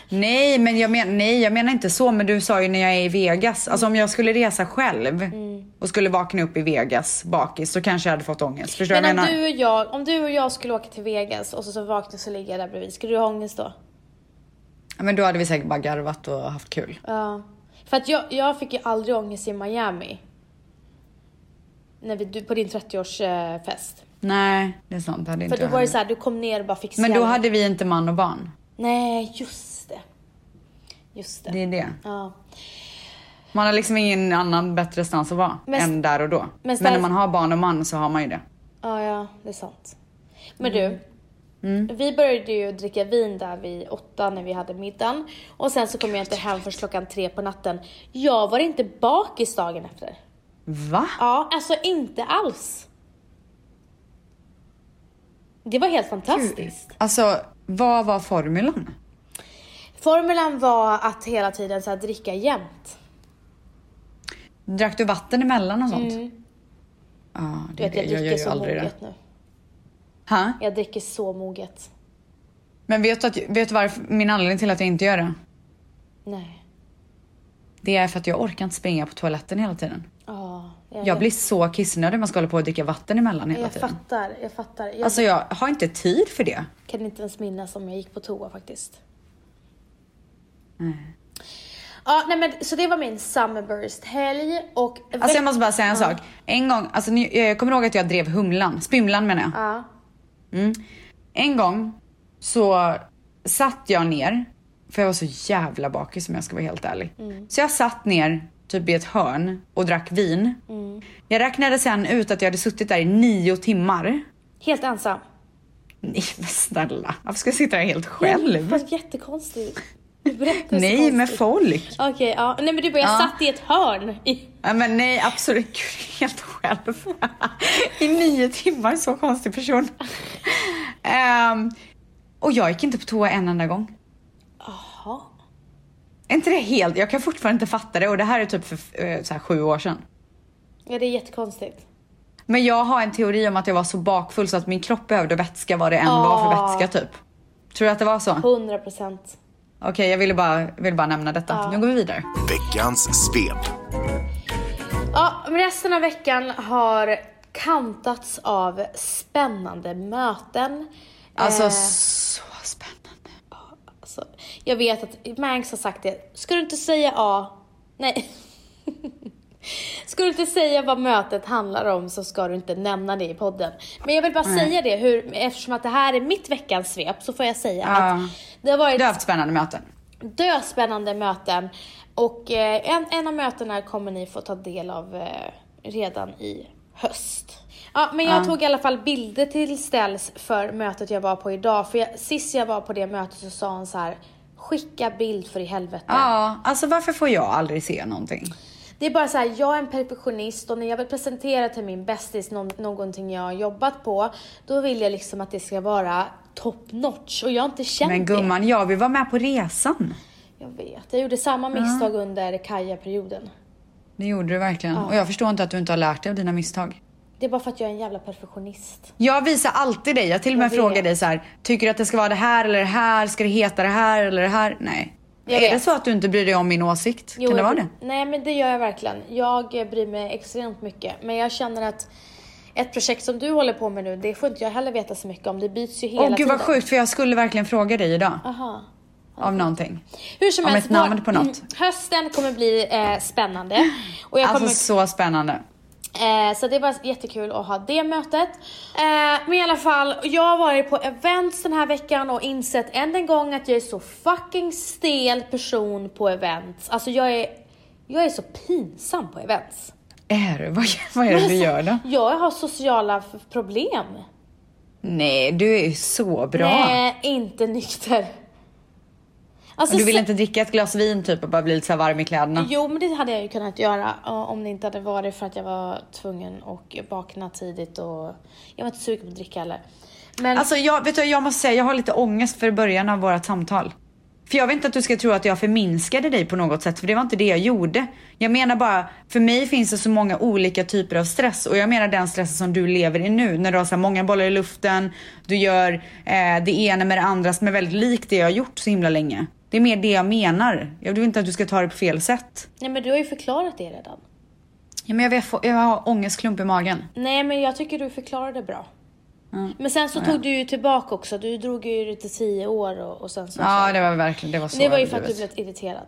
[SPEAKER 1] Nej, men jag, men, nej, jag menar inte så, men du sa ju när jag är i Vegas. Alltså om jag skulle resa själv
[SPEAKER 2] Mm.
[SPEAKER 1] och skulle vakna upp i Vegas bakis så kanske jag hade fått ångest. Förstår du vad jag
[SPEAKER 2] Men om
[SPEAKER 1] menar?
[SPEAKER 2] du, och jag, om du och jag skulle åka till Vegas och så, så vaknar jag så ligger jag där bredvid, skulle du ha ångest då?
[SPEAKER 1] Ja, men då hade vi säkert bara garvat och haft kul.
[SPEAKER 2] Ja. För att jag, jag fick ju aldrig ångest i Miami. när vi, du, på din 30-årsfest.
[SPEAKER 1] Nej, det är sant. Det hade inte
[SPEAKER 2] För då
[SPEAKER 1] jag
[SPEAKER 2] var det
[SPEAKER 1] heller.
[SPEAKER 2] så här, du kom ner och bara fick
[SPEAKER 1] Men då
[SPEAKER 2] se-
[SPEAKER 1] hade vi inte man och barn.
[SPEAKER 2] Nej, just det. Just det.
[SPEAKER 1] Det är det.
[SPEAKER 2] Ja.
[SPEAKER 1] Man har liksom ingen annan bättre stans att vara
[SPEAKER 2] Men-
[SPEAKER 1] än där och då. Men,
[SPEAKER 2] ställ-
[SPEAKER 1] när man har barn och man så har man ju det.
[SPEAKER 2] Ja, ja, det är sant. Men
[SPEAKER 1] Mm.
[SPEAKER 2] du, vi började ju dricka vin där vid åtta när vi hade middagen och sen så kom jag inte hem förrän klockan tre på natten. Jag var inte bakis dagen efter.
[SPEAKER 1] Va?
[SPEAKER 2] Ja, alltså inte alls. Det var helt fantastiskt.
[SPEAKER 1] Alltså, vad var formulan?
[SPEAKER 2] Formulan var att hela tiden så här dricka jämt.
[SPEAKER 1] Drack du vatten emellan och sånt? Ja,
[SPEAKER 2] Mm. Du
[SPEAKER 1] det, är
[SPEAKER 2] vet,
[SPEAKER 1] det.
[SPEAKER 2] jag
[SPEAKER 1] jag
[SPEAKER 2] dricker
[SPEAKER 1] gör ju
[SPEAKER 2] så
[SPEAKER 1] aldrig det.
[SPEAKER 2] moget nu.
[SPEAKER 1] Ha?
[SPEAKER 2] Jag dricker så moget.
[SPEAKER 1] Men vet du, att, vet du varför min anledning till att jag inte gör det?
[SPEAKER 2] Nej.
[SPEAKER 1] Det är för att jag orkar inte springa på toaletten hela tiden.
[SPEAKER 2] Ja,
[SPEAKER 1] Jag blir så kissnödig när man ska hålla på och dricka vatten emellan hela
[SPEAKER 2] jag
[SPEAKER 1] tiden.
[SPEAKER 2] fattar, jag fattar. Jag
[SPEAKER 1] Alltså jag har inte tid för det.
[SPEAKER 2] kan inte ens minnas om jag gick på toa faktiskt. Ja, nej men så det var min Summerburst-helg och...
[SPEAKER 1] Alltså jag måste bara säga en sak. En gång, alltså ni, jag kommer ihåg att jag drev humlan, spymlan menar jag.
[SPEAKER 2] Ja.
[SPEAKER 1] Mm. En gång så satt jag ner, för jag var så jävla bakis om jag ska vara helt ärlig.
[SPEAKER 2] Mm.
[SPEAKER 1] Så jag satt ner typ i ett hörn och drack vin.
[SPEAKER 2] Mm.
[SPEAKER 1] Jag räknade sen ut att jag hade suttit där i nio timmar.
[SPEAKER 2] Helt ensam.
[SPEAKER 1] Nej men snälla, varför ska jag sitta där helt själv?
[SPEAKER 2] Det var jättekonstigt. Du berättade så
[SPEAKER 1] Nej
[SPEAKER 2] konstigt.
[SPEAKER 1] med folk.
[SPEAKER 2] Okej, ja. Nej men du bara, jag
[SPEAKER 1] Ja.
[SPEAKER 2] satt i ett hörn. I...
[SPEAKER 1] Nej men nej absolut, gud helt själv. I nio timmar, så konstig person. Ehm, och jag gick inte på toa en enda gång.
[SPEAKER 2] Jaha.
[SPEAKER 1] Är inte det helt, jag kan fortfarande inte fatta det och det här är typ för eh, så här, sju år sedan.
[SPEAKER 2] Ja, det är jättekonstigt.
[SPEAKER 1] Men jag har en teori om att jag var så bakfull så att min kropp behövde vätska vad det än var
[SPEAKER 2] Ah. Oh.
[SPEAKER 1] för vätska typ. Tror du att det var så? Okej
[SPEAKER 2] 100 procent.
[SPEAKER 1] jag ville bara, ville bara nämna detta. Nu går vi vidare.
[SPEAKER 3] Veckans svep.
[SPEAKER 2] Ja, men resten av veckan har kantats av spännande möten.
[SPEAKER 1] Alltså
[SPEAKER 2] Eh,
[SPEAKER 1] så spännande.
[SPEAKER 2] alltså, jag vet att Mangs har sagt det. Ska du inte säga A? Nej. Ska du inte säga vad mötet handlar om så ska du inte nämna det i podden. Men jag vill bara säga det, hur, eftersom att det här är mitt veckans svep så får jag säga
[SPEAKER 1] Ja.
[SPEAKER 2] att det har varit
[SPEAKER 1] Du har haft spännande möten.
[SPEAKER 2] döspännande möten. Och eh, en, en av mötena kommer ni få ta del av eh, redan i höst. Ja, men jag tog i alla fall bilder till ställs för mötet jag var på idag. För jag, sist jag var på det mötet så sa hon så här, skicka bild för i helvete.
[SPEAKER 1] Ja, alltså varför får jag aldrig se någonting?
[SPEAKER 2] Det är bara så här, jag är en perfektionist och när jag vill presentera till min bästis nå- någonting jag har jobbat på, då vill jag liksom att det ska vara top notch och jag har inte känt
[SPEAKER 1] Men
[SPEAKER 2] det.
[SPEAKER 1] gumman, jag vill vara med på resan.
[SPEAKER 2] Jag vet, jag gjorde samma misstag under Kaja-perioden.
[SPEAKER 1] Det gjorde du verkligen. Och jag förstår inte att du inte har lärt dig av dina misstag.
[SPEAKER 2] Det är bara för att jag är en jävla perfektionist.
[SPEAKER 1] Jag visar alltid dig. Jag till och
[SPEAKER 2] Jag
[SPEAKER 1] med
[SPEAKER 2] vet.
[SPEAKER 1] frågar dig så här. Tycker du att det ska vara det här eller det här? Ska det heta det här eller det här? Nej.
[SPEAKER 2] Jag
[SPEAKER 1] är
[SPEAKER 2] vet.
[SPEAKER 1] det så att du inte bryr dig om min åsikt? kan det
[SPEAKER 2] jag-
[SPEAKER 1] vara det?
[SPEAKER 2] Nej men det gör jag verkligen. Jag eh, bryr mig extremt mycket. Men jag känner att ett projekt som du håller på med nu, det får inte jag heller veta så mycket om. Det byts ju hela
[SPEAKER 1] Åh gud
[SPEAKER 2] tiden.
[SPEAKER 1] vad sjukt för jag skulle verkligen fråga dig idag.
[SPEAKER 2] Aha.
[SPEAKER 1] Av någonting.
[SPEAKER 2] Hur som
[SPEAKER 1] Om
[SPEAKER 2] helst,
[SPEAKER 1] ett namn på något.
[SPEAKER 2] hösten kommer bli eh, spännande. Och jag
[SPEAKER 1] Alltså
[SPEAKER 2] kommer,
[SPEAKER 1] så spännande.
[SPEAKER 2] eh, så det var jättekul att ha det mötet. Eh, men i alla fall, jag har varit på events den här veckan och insett än en gång att jag är så fucking stel person på events. Alltså jag är, jag är så pinsam på events. Alltså,
[SPEAKER 1] Är du? Vad, vad är det du gör då?
[SPEAKER 2] Jag har sociala f- problem.
[SPEAKER 1] Nej, du är ju så bra.
[SPEAKER 2] Nej, inte nykter. Alltså,
[SPEAKER 1] Du vill
[SPEAKER 2] se-
[SPEAKER 1] inte dricka ett glas vin typ och bara bli lite så här varm i kläderna?
[SPEAKER 2] Jo, men det hade jag ju kunnat göra eh, om det inte hade varit för att jag var tvungen att vakna tidigt och jag var inte sugen på att dricka heller. Men
[SPEAKER 1] Alltså jag, vet du, jag måste säga, jag har lite ångest för början av vårt samtal. För jag vet inte att du ska tro att jag förminskade dig på något sätt, för det var inte det jag gjorde. Jag menar bara, för mig finns det så många olika typer av stress och jag menar den stressen som du lever i nu när du har så här många bollar i luften, du gör eh, det ena med det andra som är väldigt likt det jag har gjort så himla länge. Det är mer det jag menar. Jag vill inte att du ska ta det på fel sätt.
[SPEAKER 2] nej, men du har ju förklarat det redan.
[SPEAKER 1] Ja, men jag, vet, jag har ångestklump i magen.
[SPEAKER 2] Nej, men jag tycker du förklarade bra.
[SPEAKER 1] Mm.
[SPEAKER 2] Men sen så tog du ju tillbaka också. Du drog ju det till tio år och, och sen så.
[SPEAKER 1] Ja, det var verkligen, det var så
[SPEAKER 2] det var ju för att du
[SPEAKER 1] överdrivet.
[SPEAKER 2] blev irriterad.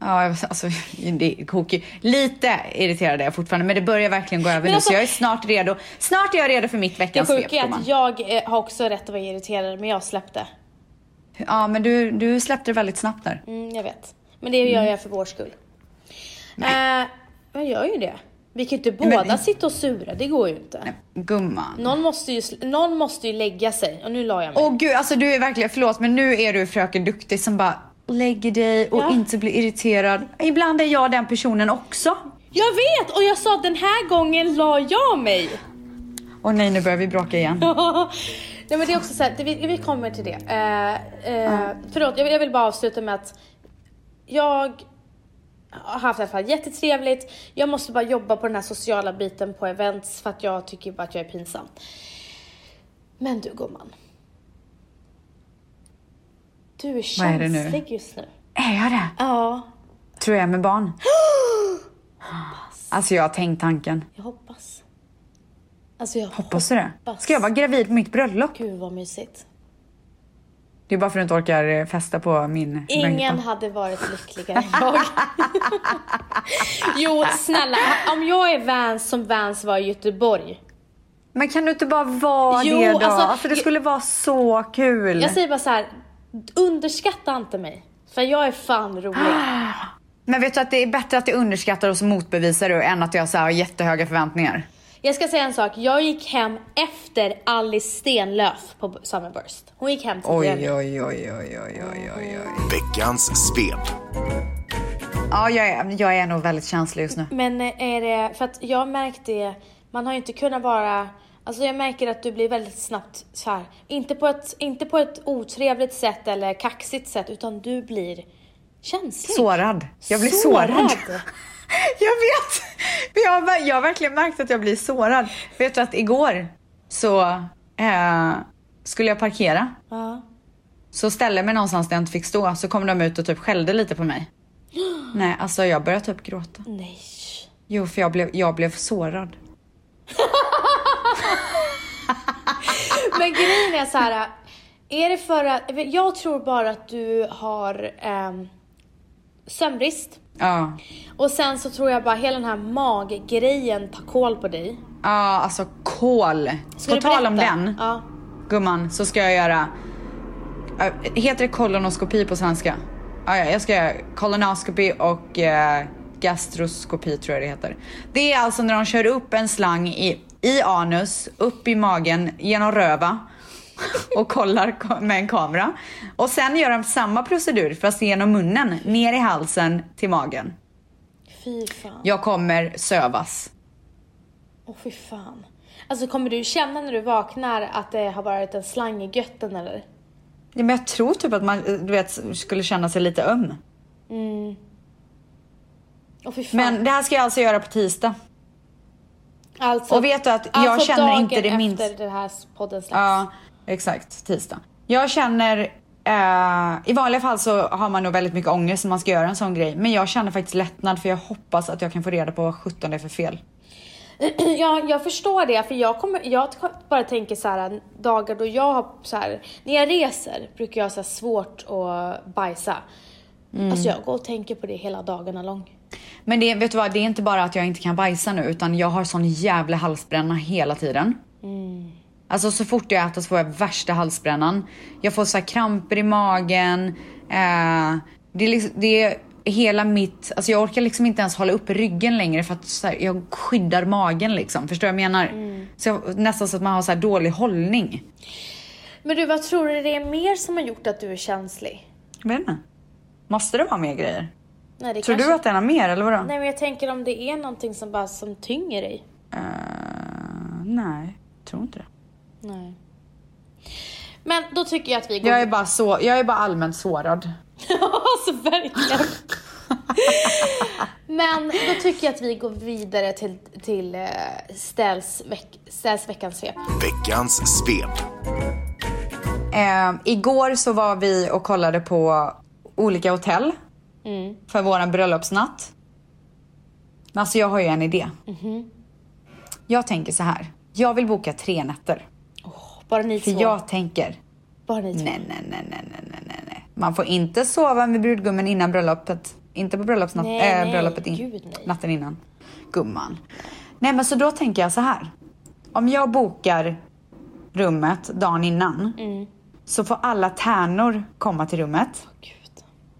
[SPEAKER 1] Ja, jag- alltså det är kokig. Lite irriterad är jag fortfarande men det börjar verkligen gå över nu
[SPEAKER 2] alltså-
[SPEAKER 1] så jag är snart redo. Snart är jag redo för mitt
[SPEAKER 2] Det
[SPEAKER 1] veckans svep
[SPEAKER 2] sjuka är
[SPEAKER 1] gumman.
[SPEAKER 2] att jag eh, har också rätt att vara irriterad men jag släppte.
[SPEAKER 1] Ja men du, du släppte det väldigt snabbt där.
[SPEAKER 2] Mm, jag vet. Men det
[SPEAKER 1] Mm.
[SPEAKER 2] gör jag för vår skull. Nej. Eh, jag gör ju det. Vi kan ju inte båda
[SPEAKER 1] men-
[SPEAKER 2] sitta och sura, det går ju inte.
[SPEAKER 1] Gumman.
[SPEAKER 2] Någon måste, ju, sl- någon måste ju lägga sig. Och nu la jag mig.
[SPEAKER 1] Åh gud, alltså du är verkligen, förlåt men nu är du fröken duktig som bara lägger dig och
[SPEAKER 2] Ja.
[SPEAKER 1] inte blir irriterad. Ibland är jag den personen också.
[SPEAKER 2] Jag vet! Och jag sa den här gången la jag mig.
[SPEAKER 1] Och nej nu börjar vi bråka igen.
[SPEAKER 2] Nej men det är också så här, det, vi, vi kommer till det. Eh, eh, Förlåt, jag, vill- jag vill bara avsluta med att jag har haft i alla fall jättetrevligt. Jag måste bara jobba på den här sociala biten på events för att jag tycker bara att jag är pinsam. Men du gumman. Du är
[SPEAKER 1] Vad är det nu?
[SPEAKER 2] känslig just nu.
[SPEAKER 1] Är jag det?
[SPEAKER 2] Ja,
[SPEAKER 1] Tror jag är med barn. Alltså jag har tänkt tanken.
[SPEAKER 2] jag hoppas. Alltså jag
[SPEAKER 1] Hoppas du det?
[SPEAKER 2] Hoppas.
[SPEAKER 1] Ska jag vara gravid på mitt bröllop?
[SPEAKER 2] Gud vad mysigt.
[SPEAKER 1] Det är bara för att du inte orkar eh, festa på min
[SPEAKER 2] Ingen
[SPEAKER 1] möhippa.
[SPEAKER 2] hade varit lyckligare än jag. jo, snälla. Om jag är Vans som Vans var i Göteborg.
[SPEAKER 1] Men kan du inte bara vara
[SPEAKER 2] Jo,
[SPEAKER 1] det då?
[SPEAKER 2] alltså,
[SPEAKER 1] Alltså, det
[SPEAKER 2] jag-
[SPEAKER 1] skulle vara så kul.
[SPEAKER 2] Jag säger bara så här, underskatta inte mig. För jag är fan rolig.
[SPEAKER 1] Men vet du att det är bättre att jag underskattar och så motbevisar du än att jag så här har jättehöga förväntningar.
[SPEAKER 2] Jag ska säga en sak. Jag gick hem efter Alice Stenlöf på Summerburst. Hon gick hem
[SPEAKER 1] Oj,
[SPEAKER 2] tidigare.
[SPEAKER 1] oj, oj, oj, oj, oj, oj, oj.
[SPEAKER 3] Veckans svep.
[SPEAKER 1] Ja, jag är, jag är nog väldigt känslig just nu.
[SPEAKER 2] Men eh, är det, för att jag märkte, man har ju inte kunnat vara, alltså jag märker att du blir väldigt snabbt så här. inte på ett, inte på ett otrevligt sätt eller kaxigt sätt, utan du blir känslig.
[SPEAKER 1] Sårad. Jag blir sårad.
[SPEAKER 2] Sårad.
[SPEAKER 1] Jag vet! Men Jag har, ver- jag har verkligen märkt att jag blir sårad. Vet du att igår så eh, skulle jag parkera.
[SPEAKER 2] Ja.
[SPEAKER 1] Så ställde jag mig någonstans där jag inte fick stå. Så kom de ut och typ skällde lite på mig. Nej, alltså jag började typ gråta.
[SPEAKER 2] Nej.
[SPEAKER 1] Jo, för jag blev, jag blev sårad.
[SPEAKER 2] Men grejen är så här. är det för att, jag tror bara att du har ehm, sömnbrist.
[SPEAKER 1] Ja,
[SPEAKER 2] Och sen så tror jag bara hela den här maggrejen tar koll på dig.
[SPEAKER 1] ja alltså kol.
[SPEAKER 2] Ska
[SPEAKER 1] På
[SPEAKER 2] du
[SPEAKER 1] tal om
[SPEAKER 2] berätta?
[SPEAKER 1] den,
[SPEAKER 2] Ja.
[SPEAKER 1] gumman, så ska jag göra... eh, heter det kolonoskopi på svenska? Ah, Ja, ja, jag ska göra kolonoskopi och eh, gastroskopi tror jag det heter. Det är alltså när de kör upp en slang i, i anus, upp i magen, genom röva och kollar ko- med en kamera. Och sen gör de samma procedur fast genom munnen, ner i halsen till magen.
[SPEAKER 2] Fy fan.
[SPEAKER 1] Jag kommer sövas.
[SPEAKER 2] Åh fy fan. Alltså kommer du känna när du vaknar att det har varit en slang i götten eller?
[SPEAKER 1] Ja, men jag tror typ att man eh, du vet, skulle känna sig lite öm.
[SPEAKER 2] Åh fy fan.
[SPEAKER 1] Men det här ska jag alltså göra på tisdag.
[SPEAKER 2] alltså,
[SPEAKER 1] och vet du att jag
[SPEAKER 2] alltså
[SPEAKER 1] känner
[SPEAKER 2] dagen
[SPEAKER 1] inte det minsta-
[SPEAKER 2] efter den här podden släpps.
[SPEAKER 1] Ja, exakt. Tisdag. Jag känner, eh, i vanliga fall så har man nog väldigt mycket ångest när man ska göra en sån grej. Men jag känner faktiskt lättnad för jag hoppas att jag kan få reda på vad sjutton det är för fel.
[SPEAKER 2] Ja, jag förstår det för jag, kommer, jag bara tänker så här äh, dagar då jag har så här, när jag reser brukar jag ha så här svårt att bajsa.
[SPEAKER 1] Mm.
[SPEAKER 2] Alltså jag går och tänker på det hela dagarna lång.
[SPEAKER 1] Men det, vet du vad, det är inte bara att jag inte kan bajsa nu utan jag har sån jävla halsbränna hela tiden.
[SPEAKER 2] Mm.
[SPEAKER 1] Alltså så fort jag äter så får jag värsta halsbrännan. Jag får så här kramper i magen. Eh, det, är liksom, det är hela mitt, alltså jag orkar liksom inte ens hålla upp ryggen längre för att så här, jag skyddar magen liksom. Förstår du vad jag menar?
[SPEAKER 2] Mm.
[SPEAKER 1] Så jag, nästan så att man har så här dålig hållning.
[SPEAKER 2] Men du, vad tror du det är mer som har gjort att du är känslig?
[SPEAKER 1] Jag vet inte. Måste det vara mer grejer?
[SPEAKER 2] Nej, det
[SPEAKER 1] Tror
[SPEAKER 2] kanske...
[SPEAKER 1] du att den har mer eller vadå?
[SPEAKER 2] Nej men jag tänker om det är någonting som bara som tynger dig.
[SPEAKER 1] Eh, nej, tror inte det.
[SPEAKER 2] Nej. Men då tycker jag att vi går
[SPEAKER 1] Jag är bara, så, jag är bara allmänt sårad.
[SPEAKER 2] alltså verkligen. Men då tycker jag att vi går vidare till, till eh, Ställs, veck, Ställs veckans svep.
[SPEAKER 3] Veckans svep.
[SPEAKER 1] Eh, igår så var vi och kollade på olika hotell för våran bröllopsnatt. Men alltså jag har ju en idé. Jag tänker så här. Jag vill boka tre nätter.
[SPEAKER 2] Bara ni
[SPEAKER 1] För
[SPEAKER 2] två.
[SPEAKER 1] jag tänker,
[SPEAKER 2] Bara ni två.
[SPEAKER 1] nej, nej, nej, nej, nej, nej, nej. Man får inte sova med brudgummen innan bröllopet. Inte på bröllopsnatt,
[SPEAKER 2] Nej,
[SPEAKER 1] eh,
[SPEAKER 2] nej,
[SPEAKER 1] bröllopet in,
[SPEAKER 2] gud, nej.
[SPEAKER 1] natten innan. Gumman. Nej men så då tänker jag så här. Om jag bokar rummet dagen innan
[SPEAKER 2] Mm.
[SPEAKER 1] så får alla tärnor komma till rummet.
[SPEAKER 2] Gud.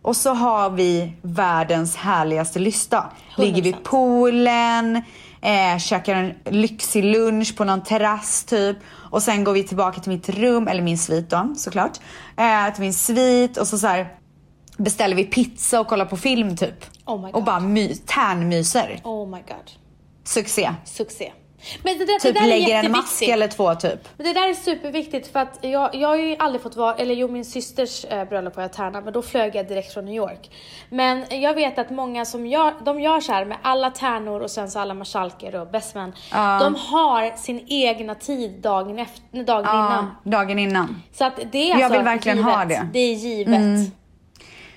[SPEAKER 1] Och så har vi världens härligaste lista. Ligger vid
[SPEAKER 2] 100%.
[SPEAKER 1] poolen, eh, käkar en lyxig lunch på någon terrass typ. Och sen går vi tillbaka till mitt rum, eller min svit då såklart. Eh, till min svit och så, så här beställer vi pizza och kollar på film typ.
[SPEAKER 2] Oh my
[SPEAKER 1] och
[SPEAKER 2] God.
[SPEAKER 1] bara my- tärnmyser.
[SPEAKER 2] Oh my god.
[SPEAKER 1] Succé.
[SPEAKER 2] Succé. Men det där,
[SPEAKER 1] Typ
[SPEAKER 2] det där är
[SPEAKER 1] lägger en mask
[SPEAKER 2] jätteviktigt.
[SPEAKER 1] eller två typ.
[SPEAKER 2] Men det där är superviktigt för att jag, jag har ju aldrig fått vara, eller jo min systers eh, bröllop var jag tärna men då flög jag direkt från New York. Men jag vet att många som gör, de gör så här med alla tärnor och sen så alla marskalker och bestmän. De har sin egna tid dagen, efter, dagen innan.
[SPEAKER 1] Ja, dagen innan.
[SPEAKER 2] Så att det är
[SPEAKER 1] Jag
[SPEAKER 2] alltså
[SPEAKER 1] vill verkligen
[SPEAKER 2] givet.
[SPEAKER 1] ha det. Mm.
[SPEAKER 2] Det är givet.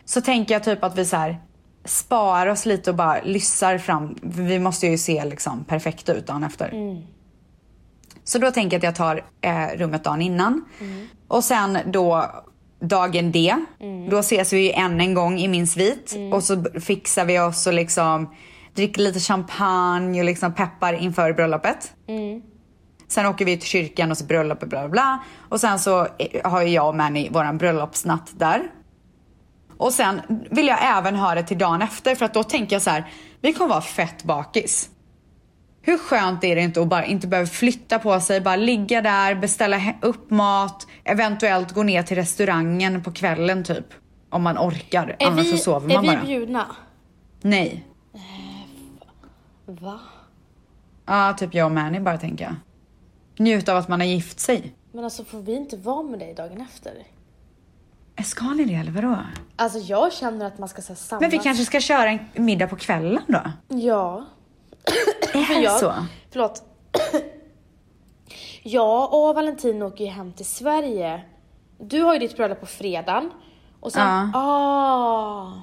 [SPEAKER 1] Så tänker jag typ att vi så här sparar oss lite och bara lyssar fram. för Vi måste ju se liksom perfekt ut dagen efter. Så då tänker jag att jag tar eh, rummet dagen innan. Och sen då dagen D. Då ses vi ju än en gång i min svit. Och så b- fixar vi oss och liksom dricker lite champagne och liksom peppar inför bröllopet. Sen åker vi till kyrkan och så bröllop och bla bla bla. Och sen så eh, har ju jag och Manny våran bröllopsnatt där. Och sen vill jag även ha det till dagen efter för att då tänker jag så här, vi kommer vara fett bakis. Hur skönt är det inte att bara inte behöva flytta på sig, bara ligga där, beställa he- upp mat, eventuellt gå ner till restaurangen på kvällen typ. Om man orkar,
[SPEAKER 2] Är
[SPEAKER 1] annars
[SPEAKER 2] vi,
[SPEAKER 1] så sover
[SPEAKER 2] är
[SPEAKER 1] man
[SPEAKER 2] vi
[SPEAKER 1] bara.
[SPEAKER 2] bjudna?
[SPEAKER 1] Nej.
[SPEAKER 2] Va?
[SPEAKER 1] Ja, typ jag och Manny bara tänker jag. Njut av att man har gift sig.
[SPEAKER 2] Men alltså får vi inte vara med dig dagen efter?
[SPEAKER 1] Ska ni det eller vadå?
[SPEAKER 2] Alltså jag känner att man ska säga samma.
[SPEAKER 1] Men vi kanske ska köra en middag på kvällen då?
[SPEAKER 2] Ja.
[SPEAKER 1] Är det
[SPEAKER 2] jag,
[SPEAKER 1] så?
[SPEAKER 2] Förlåt. Jag och Valentin åker ju hem till Sverige. Du har ju ditt bröllop på fredagen. Och sen,
[SPEAKER 1] Ja.
[SPEAKER 2] ah.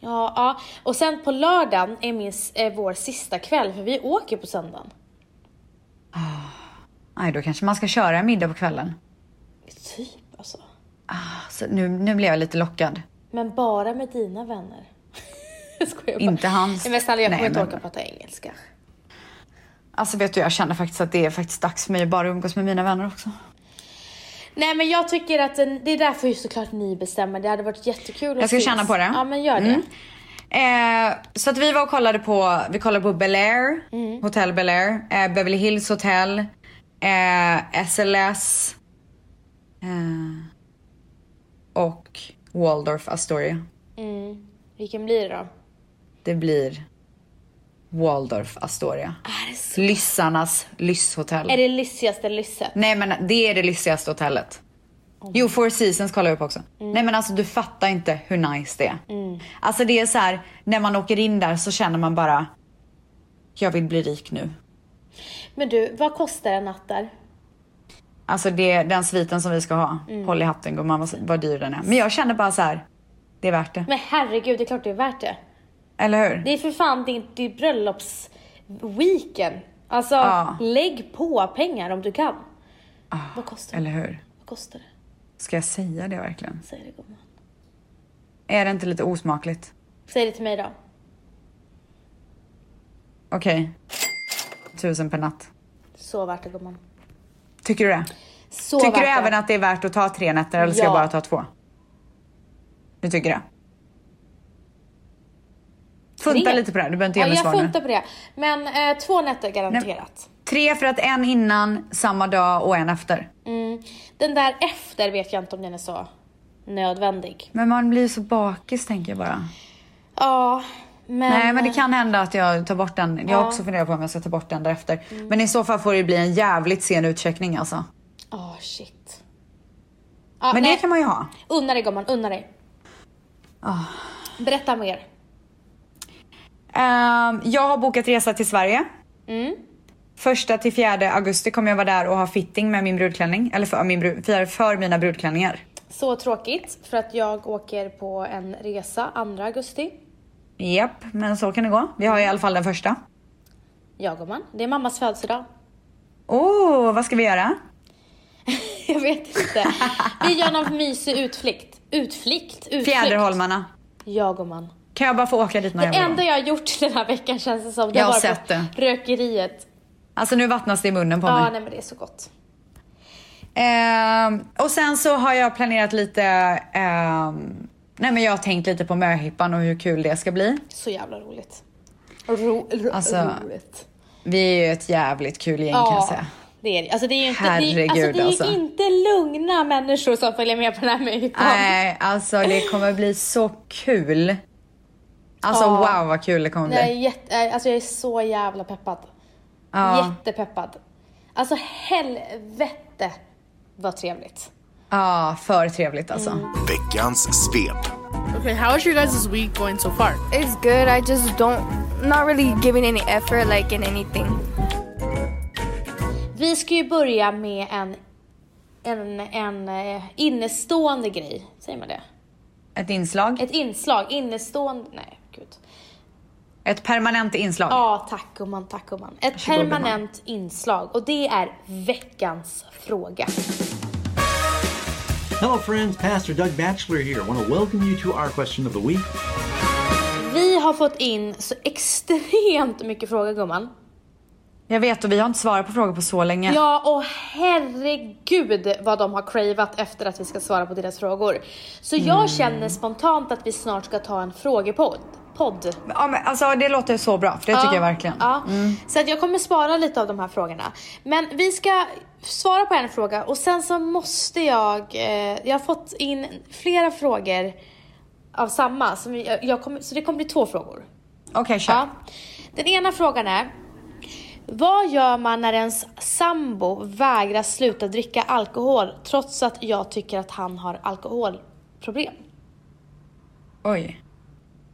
[SPEAKER 2] Ja, ja. Och sen på lördagen är, min, s- är vår sista kväll för vi åker på söndagen.
[SPEAKER 1] Nej, då kanske man ska köra en middag på kvällen.
[SPEAKER 2] Typ alltså.
[SPEAKER 1] Så nu, nu blev jag lite lockad.
[SPEAKER 2] Men bara med dina vänner. Jag skojar bara.
[SPEAKER 1] Inte hans.
[SPEAKER 2] Nej, Men snälla jag
[SPEAKER 1] Nej,
[SPEAKER 2] kommer inte
[SPEAKER 1] men-
[SPEAKER 2] orka prata engelska.
[SPEAKER 1] Alltså vet du, jag känner faktiskt att det är faktiskt dags för mig att bara umgås med mina vänner också.
[SPEAKER 2] Nej men jag tycker att den, det är därför ju såklart ni bestämmer. Det hade varit jättekul att
[SPEAKER 1] Jag ska
[SPEAKER 2] ses.
[SPEAKER 1] känna på det.
[SPEAKER 2] Ja men gör det.
[SPEAKER 1] Mm. Eh, så att vi var och kollade på, vi kollade på Bel Air,
[SPEAKER 2] Mm.
[SPEAKER 1] Hotel Bel Air, eh, Beverly Hills Hotel, eh, SLS eh, och Waldorf Astoria.
[SPEAKER 2] Vilken blir det då?
[SPEAKER 1] Det blir Waldorf Astoria.
[SPEAKER 2] Är Ah, det så?
[SPEAKER 1] Lyssarnas lysshotell.
[SPEAKER 2] Är det lyssigaste lysset?
[SPEAKER 1] Nej men det är det lyxigaste hotellet. Jo, Four Seasons kollar jag upp också.
[SPEAKER 2] Mm.
[SPEAKER 1] Nej men alltså du fattar inte hur nice det är. Alltså det är så här, när man åker in där så känner man bara, jag vill bli rik nu.
[SPEAKER 2] Men du, vad kostar en natt där?
[SPEAKER 1] Alltså det, den sviten som vi ska ha,
[SPEAKER 2] Mm.
[SPEAKER 1] håll i hatten gumman vad, vad dyr den är. Men jag känner bara så här, det är värt det.
[SPEAKER 2] Men herregud, det är klart det är värt det.
[SPEAKER 1] Eller hur?
[SPEAKER 2] Det är för fan din, din bröllopsweekend. Alltså,
[SPEAKER 1] Ja.
[SPEAKER 2] lägg på pengar om du kan. vad kostar det?
[SPEAKER 1] Ah, Eller hur?
[SPEAKER 2] Vad kostar det?
[SPEAKER 1] Ska jag säga det verkligen?
[SPEAKER 2] Säg det gumman.
[SPEAKER 1] Är det inte lite osmakligt?
[SPEAKER 2] Säg det till mig då.
[SPEAKER 1] Okej. Tusen per natt.
[SPEAKER 2] Så värt det gumman.
[SPEAKER 1] Tycker du det?
[SPEAKER 2] Så
[SPEAKER 1] Tycker
[SPEAKER 2] värt
[SPEAKER 1] du
[SPEAKER 2] det.
[SPEAKER 1] även att det är värt att ta tre nätter eller ska
[SPEAKER 2] Ja.
[SPEAKER 1] jag bara ta två? Du tycker det? Funta
[SPEAKER 2] Tre?
[SPEAKER 1] lite på det här, du behöver inte
[SPEAKER 2] Ja,
[SPEAKER 1] ge mig
[SPEAKER 2] jag
[SPEAKER 1] svar nu.
[SPEAKER 2] funtar på det. Men eh, två nätter garanterat.
[SPEAKER 1] Tre för att en innan, samma dag och en efter.
[SPEAKER 2] Mm. Den där efter vet jag inte om den är så nödvändig.
[SPEAKER 1] Men man blir ju så bakis tänker jag bara.
[SPEAKER 2] Ja, men...
[SPEAKER 1] Nej men det kan hända att jag tar bort den. Jag har också funderat på om jag ska ta bort den därefter. Men i så fall får det bli en jävligt sen utcheckning alltså.
[SPEAKER 2] Ja, Ah, shit. Ja,
[SPEAKER 1] Men
[SPEAKER 2] nej.
[SPEAKER 1] det kan man ju ha.
[SPEAKER 2] Unna dig gumman, unna dig.
[SPEAKER 1] Ah.
[SPEAKER 2] Berätta mer.
[SPEAKER 1] Ehm, jag har bokat resa till Sverige.
[SPEAKER 2] Mm.
[SPEAKER 1] Första till fjärde augusti kommer jag vara där och ha fitting med min brudklänning. Eller för, min, bru- för, för mina brudklänningar.
[SPEAKER 2] Så tråkigt för att jag åker på en resa 2 augusti.
[SPEAKER 1] Japp, men så kan det gå. Vi har i alla fall den första.
[SPEAKER 2] Ja gumman, det är mammas födelsedag.
[SPEAKER 1] Åh, oh, vad ska vi göra?
[SPEAKER 2] Jag vet inte. Vi gör någon mysig utflykt. Utflykt? Utflykt?
[SPEAKER 1] Fjäderholmarna.
[SPEAKER 2] Ja gumman.
[SPEAKER 1] Kan jag bara få åka dit någon
[SPEAKER 2] Det
[SPEAKER 1] jävla
[SPEAKER 2] enda
[SPEAKER 1] gång?
[SPEAKER 2] jag har gjort den här veckan känns det som. Det
[SPEAKER 1] Jag har
[SPEAKER 2] var
[SPEAKER 1] sett
[SPEAKER 2] på
[SPEAKER 1] det.
[SPEAKER 2] rökeriet.
[SPEAKER 1] Alltså nu vattnas det i munnen på
[SPEAKER 2] Ja,
[SPEAKER 1] mig.
[SPEAKER 2] nej men det är så gott.
[SPEAKER 1] Ehm, och sen så har jag planerat lite, ehm, nej men jag har tänkt lite på möhippan och hur kul det ska bli.
[SPEAKER 2] Så jävla roligt. Ro, ro,
[SPEAKER 1] Alltså,
[SPEAKER 2] roligt.
[SPEAKER 1] Vi är ju ett jävligt kul gäng kan jag säga.
[SPEAKER 2] det är det. Alltså det är ju inte, det, är-
[SPEAKER 1] Herregud,
[SPEAKER 2] alltså, det är
[SPEAKER 1] alltså.
[SPEAKER 2] ju inte lugna människor som följer med på den här möhippan.
[SPEAKER 1] Nej, alltså det kommer bli så kul. Alltså
[SPEAKER 2] Ja.
[SPEAKER 1] wow vad kul det kommer
[SPEAKER 2] Jag är,
[SPEAKER 1] bli.
[SPEAKER 2] jätte, eh, alltså jag är så jävla peppad.
[SPEAKER 1] Ja,
[SPEAKER 2] Jättepeppad. Alltså helvete vad trevligt.
[SPEAKER 1] ja, för trevligt alltså.
[SPEAKER 2] Mm.
[SPEAKER 3] Veckans svep.
[SPEAKER 4] Okay, how is your guys' week going so far?
[SPEAKER 5] It's good. I just don't, not really giving any effort, like in anything.
[SPEAKER 2] Vi ska ju börja med en, en, en eh, innestående grej. Säger man det?
[SPEAKER 1] Ett inslag,
[SPEAKER 2] Ett inslag. Innestående... Nej, gud.
[SPEAKER 1] ett permanent inslag.
[SPEAKER 2] Ja, tack gumman, tack gumman. Ett
[SPEAKER 1] Varsågod, gumman.
[SPEAKER 2] permanent inslag och det är veckans fråga.
[SPEAKER 6] Hello, friends. Pastor Doug Batchelor here. I want to welcome you to our question of the week.
[SPEAKER 2] Vi har fått in så extremt mycket frågor gumman.
[SPEAKER 1] Jag vet och vi har inte svarat på frågor på så länge.
[SPEAKER 2] Ja, och herregud vad de har cravat efter att vi ska svara på deras frågor. Så jag
[SPEAKER 1] Mm.
[SPEAKER 2] känner spontant att vi snart ska ta en frågepodd. Podd.
[SPEAKER 1] Ja, men, alltså det låter så bra, för det tycker jag verkligen. Mm.
[SPEAKER 2] Ja. Så att jag kommer spara lite av de här frågorna. Men vi ska svara på en fråga och sen så måste jag, eh, jag har fått in flera frågor av samma, som jag, jag kommer, så det kommer bli två frågor.
[SPEAKER 1] Okej, kör.
[SPEAKER 2] Ja. Den ena frågan är, vad gör man när ens sambo vägrar sluta dricka alkohol trots att jag tycker att han har alkoholproblem?
[SPEAKER 1] Oj.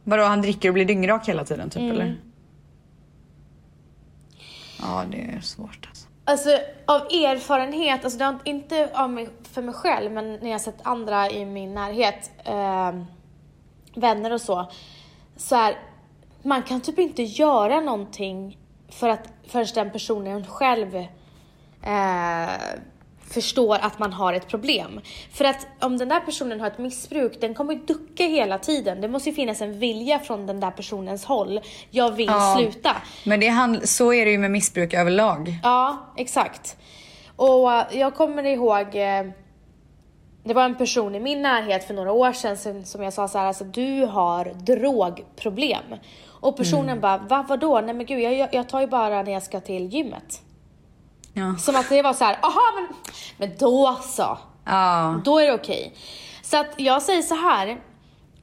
[SPEAKER 1] Vadå, han dricker och blir dyngrak hela tiden
[SPEAKER 2] Mm.
[SPEAKER 1] typ eller? Ja, det är svårt alltså.
[SPEAKER 2] Alltså av erfarenhet, alltså det har inte av mig, för mig själv men när jag har sett andra i min närhet, eh, vänner och så, så här, man kan typ inte göra någonting för att, förrän den personen själv eh, förstår att man har ett problem. För att om den där personen har ett missbruk, den kommer ju ducka hela tiden. Det måste ju finnas en vilja från den där personens håll. Jag vill sluta.
[SPEAKER 1] Men det han, så är det ju med missbruk överlag.
[SPEAKER 2] Ja, exakt. Och eh, jag kommer ihåg, eh, det var en person i min närhet för några år sedan som- som jag sa så här, alltså du har drogproblem. Och personen bara, va vadå? Nej men gud, jag- jag, jag tar ju bara när jag ska till gymmet.
[SPEAKER 1] Ja.
[SPEAKER 2] Som att det var så här, aha men, men då så.
[SPEAKER 1] Ja.
[SPEAKER 2] Då är det okej. Så att jag säger så här.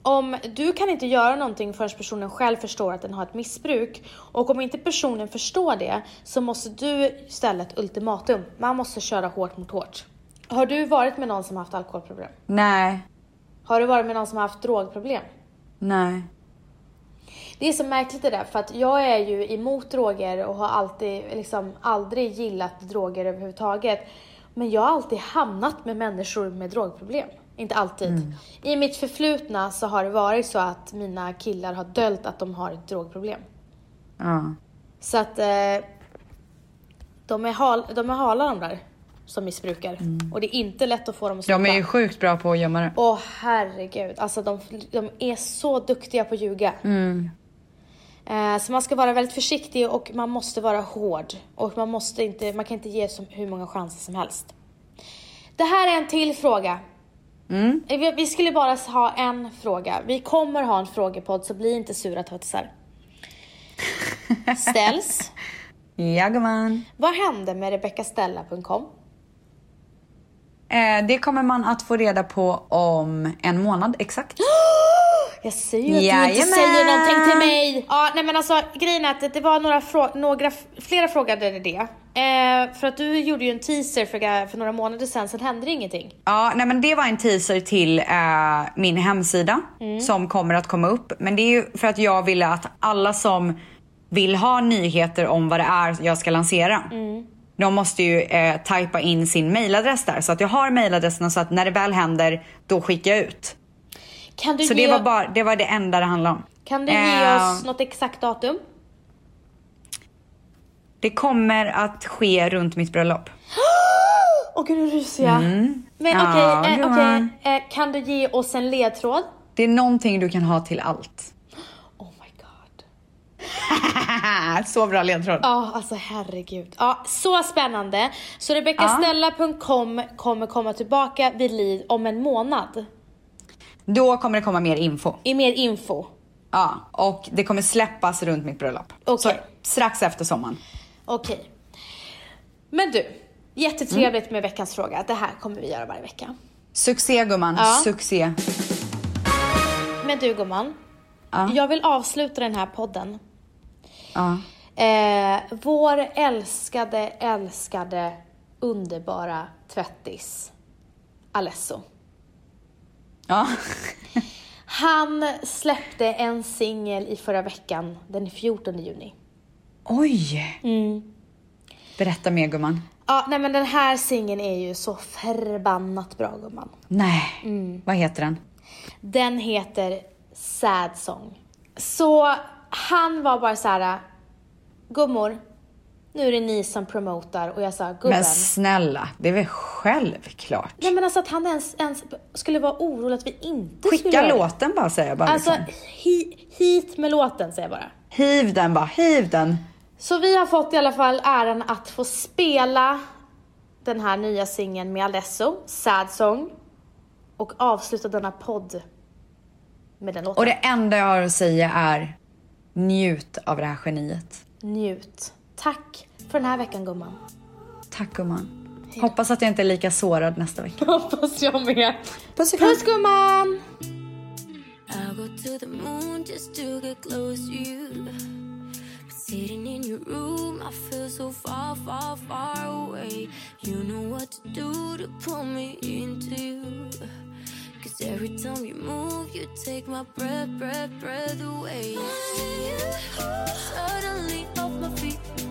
[SPEAKER 2] Om du kan inte göra någonting förrän personen själv förstår att den har ett missbruk och om inte personen förstår det så måste du ställa ett ultimatum. Man måste köra hårt mot hårt. Har du varit med någon som haft alkoholproblem?
[SPEAKER 1] Nej.
[SPEAKER 2] Har du varit med någon som haft drogproblem?
[SPEAKER 1] Nej.
[SPEAKER 2] Det är så märkligt det där för att jag är ju emot droger och har alltid, liksom aldrig gillat droger överhuvudtaget. Men jag har alltid hamnat med människor med drogproblem. Inte alltid. I mitt förflutna så har det varit så att mina killar har döljt att de har ett drogproblem.
[SPEAKER 1] Ja.
[SPEAKER 2] Så att eh, de, är hal, de är hala de där som missbrukar. Och det är inte lätt att få dem att sluta.
[SPEAKER 1] De är ju sjukt bra på att gömma det.
[SPEAKER 2] Åh herregud, alltså de, de är så duktiga på att ljuga. Eh, Så man ska vara väldigt försiktig och man måste vara hård. Och man, måste inte, man kan inte ge som, hur många chanser som helst. Det här är en till fråga. Eh, Vi, vi skulle bara ha en fråga. Vi kommer ha en frågepodd så bli inte sura tötisar. Ställs.
[SPEAKER 1] Ja, gumman.
[SPEAKER 2] Vad hände med RebeccaStella.com?
[SPEAKER 1] Eh, det kommer man att få reda på om en månad exakt.
[SPEAKER 2] Jag säger ju att du inte
[SPEAKER 1] Jajamän!
[SPEAKER 2] säger någonting till mig. Ja, nej men alltså grejen är att det- det var några, frå- några f- flera frågade det. Eh, för att du gjorde ju en teaser för, för några månader sedan, sen hände det ingenting.
[SPEAKER 1] Ja, nej men det var en teaser till eh, min hemsida
[SPEAKER 2] Mm.
[SPEAKER 1] som kommer att komma upp. Men det är ju för att jag ville att alla som vill ha nyheter om vad det är jag ska lansera.
[SPEAKER 2] Mm.
[SPEAKER 1] De måste ju eh, typa in sin mailadress där. Så att jag har mailadressen så att när det väl händer, då skickar jag ut.
[SPEAKER 2] Kan du,
[SPEAKER 1] Så
[SPEAKER 2] ge,
[SPEAKER 1] det var, bara, det var det enda det handlade om.
[SPEAKER 2] kan du ge
[SPEAKER 1] Eh,
[SPEAKER 2] oss något exakt datum?
[SPEAKER 1] Det kommer att ske runt mitt bröllop.
[SPEAKER 2] Åh gud nu ryser jag. Men
[SPEAKER 1] Mm. Ja,
[SPEAKER 2] okej, eh,
[SPEAKER 1] gumman.
[SPEAKER 2] okej, eh, kan du ge oss en ledtråd? Oh
[SPEAKER 1] Det är någonting du kan ha till allt. Nej, så bra ledtråd.
[SPEAKER 2] Ja, alltså herregud. Ja, så spännande. Så RebeccaStella.com kommer komma tillbaka vid liv om en månad.
[SPEAKER 1] Då kommer det komma mer info.
[SPEAKER 2] I mer info.
[SPEAKER 1] Ja, och det kommer släppas runt mitt bröllop.
[SPEAKER 2] Okej.
[SPEAKER 1] Så, strax efter sommaren.
[SPEAKER 2] Okej. Men du, jättetrevligt med veckans fråga. Det här kommer vi göra varje vecka.
[SPEAKER 1] Succé gumman,
[SPEAKER 2] Ja.
[SPEAKER 1] succé.
[SPEAKER 2] Men du gumman,
[SPEAKER 1] Ja.
[SPEAKER 2] jag vill avsluta den här podden.
[SPEAKER 1] Ja.
[SPEAKER 2] Eh, vår älskade, älskade, underbara tvättis Alesso.
[SPEAKER 1] Ja.
[SPEAKER 2] Han släppte en singel i förra veckan, den 14 juni.
[SPEAKER 1] Oj! Berätta mer gumman.
[SPEAKER 2] Ja, nej men den här singeln är ju så förbannat bra gumman.
[SPEAKER 1] Nej, vad heter den?
[SPEAKER 2] Den heter Sad Song. Så han var bara så här, gummor, nu är det ni som promotar och jag sa gubben.
[SPEAKER 1] Men snälla, det är väl självklart.
[SPEAKER 2] Nej men alltså att han ens, ens skulle vara orolig att vi inte skulle
[SPEAKER 1] Skicka
[SPEAKER 2] göra det.
[SPEAKER 1] låten bara säger jag bara.
[SPEAKER 2] Alltså
[SPEAKER 1] liksom.
[SPEAKER 2] hi, hit med låten säger jag bara.
[SPEAKER 1] Hiv den bara, hiv den.
[SPEAKER 2] Så vi har fått i alla fall äran att få spela den här nya singeln med Alesso, Sad Song. Och avsluta denna podd med den låten.
[SPEAKER 1] Och det enda jag har att säga är njut av det här geniet.
[SPEAKER 2] Njut. Tack för den här veckan gumman.
[SPEAKER 1] Tack gumman. Hoppas att jag inte är lika sårad nästa vecka.
[SPEAKER 2] Hoppas jag med.
[SPEAKER 1] Puss och kram.
[SPEAKER 2] Puss gumman!
[SPEAKER 7] I'll go to the moon just to get close to you. But sitting in your room, I feel so far, far, far away. You know what to do to pull me into you. Cause every time you move, you take my breath, breath, breath away. Suddenly off my feet. Oh. oh,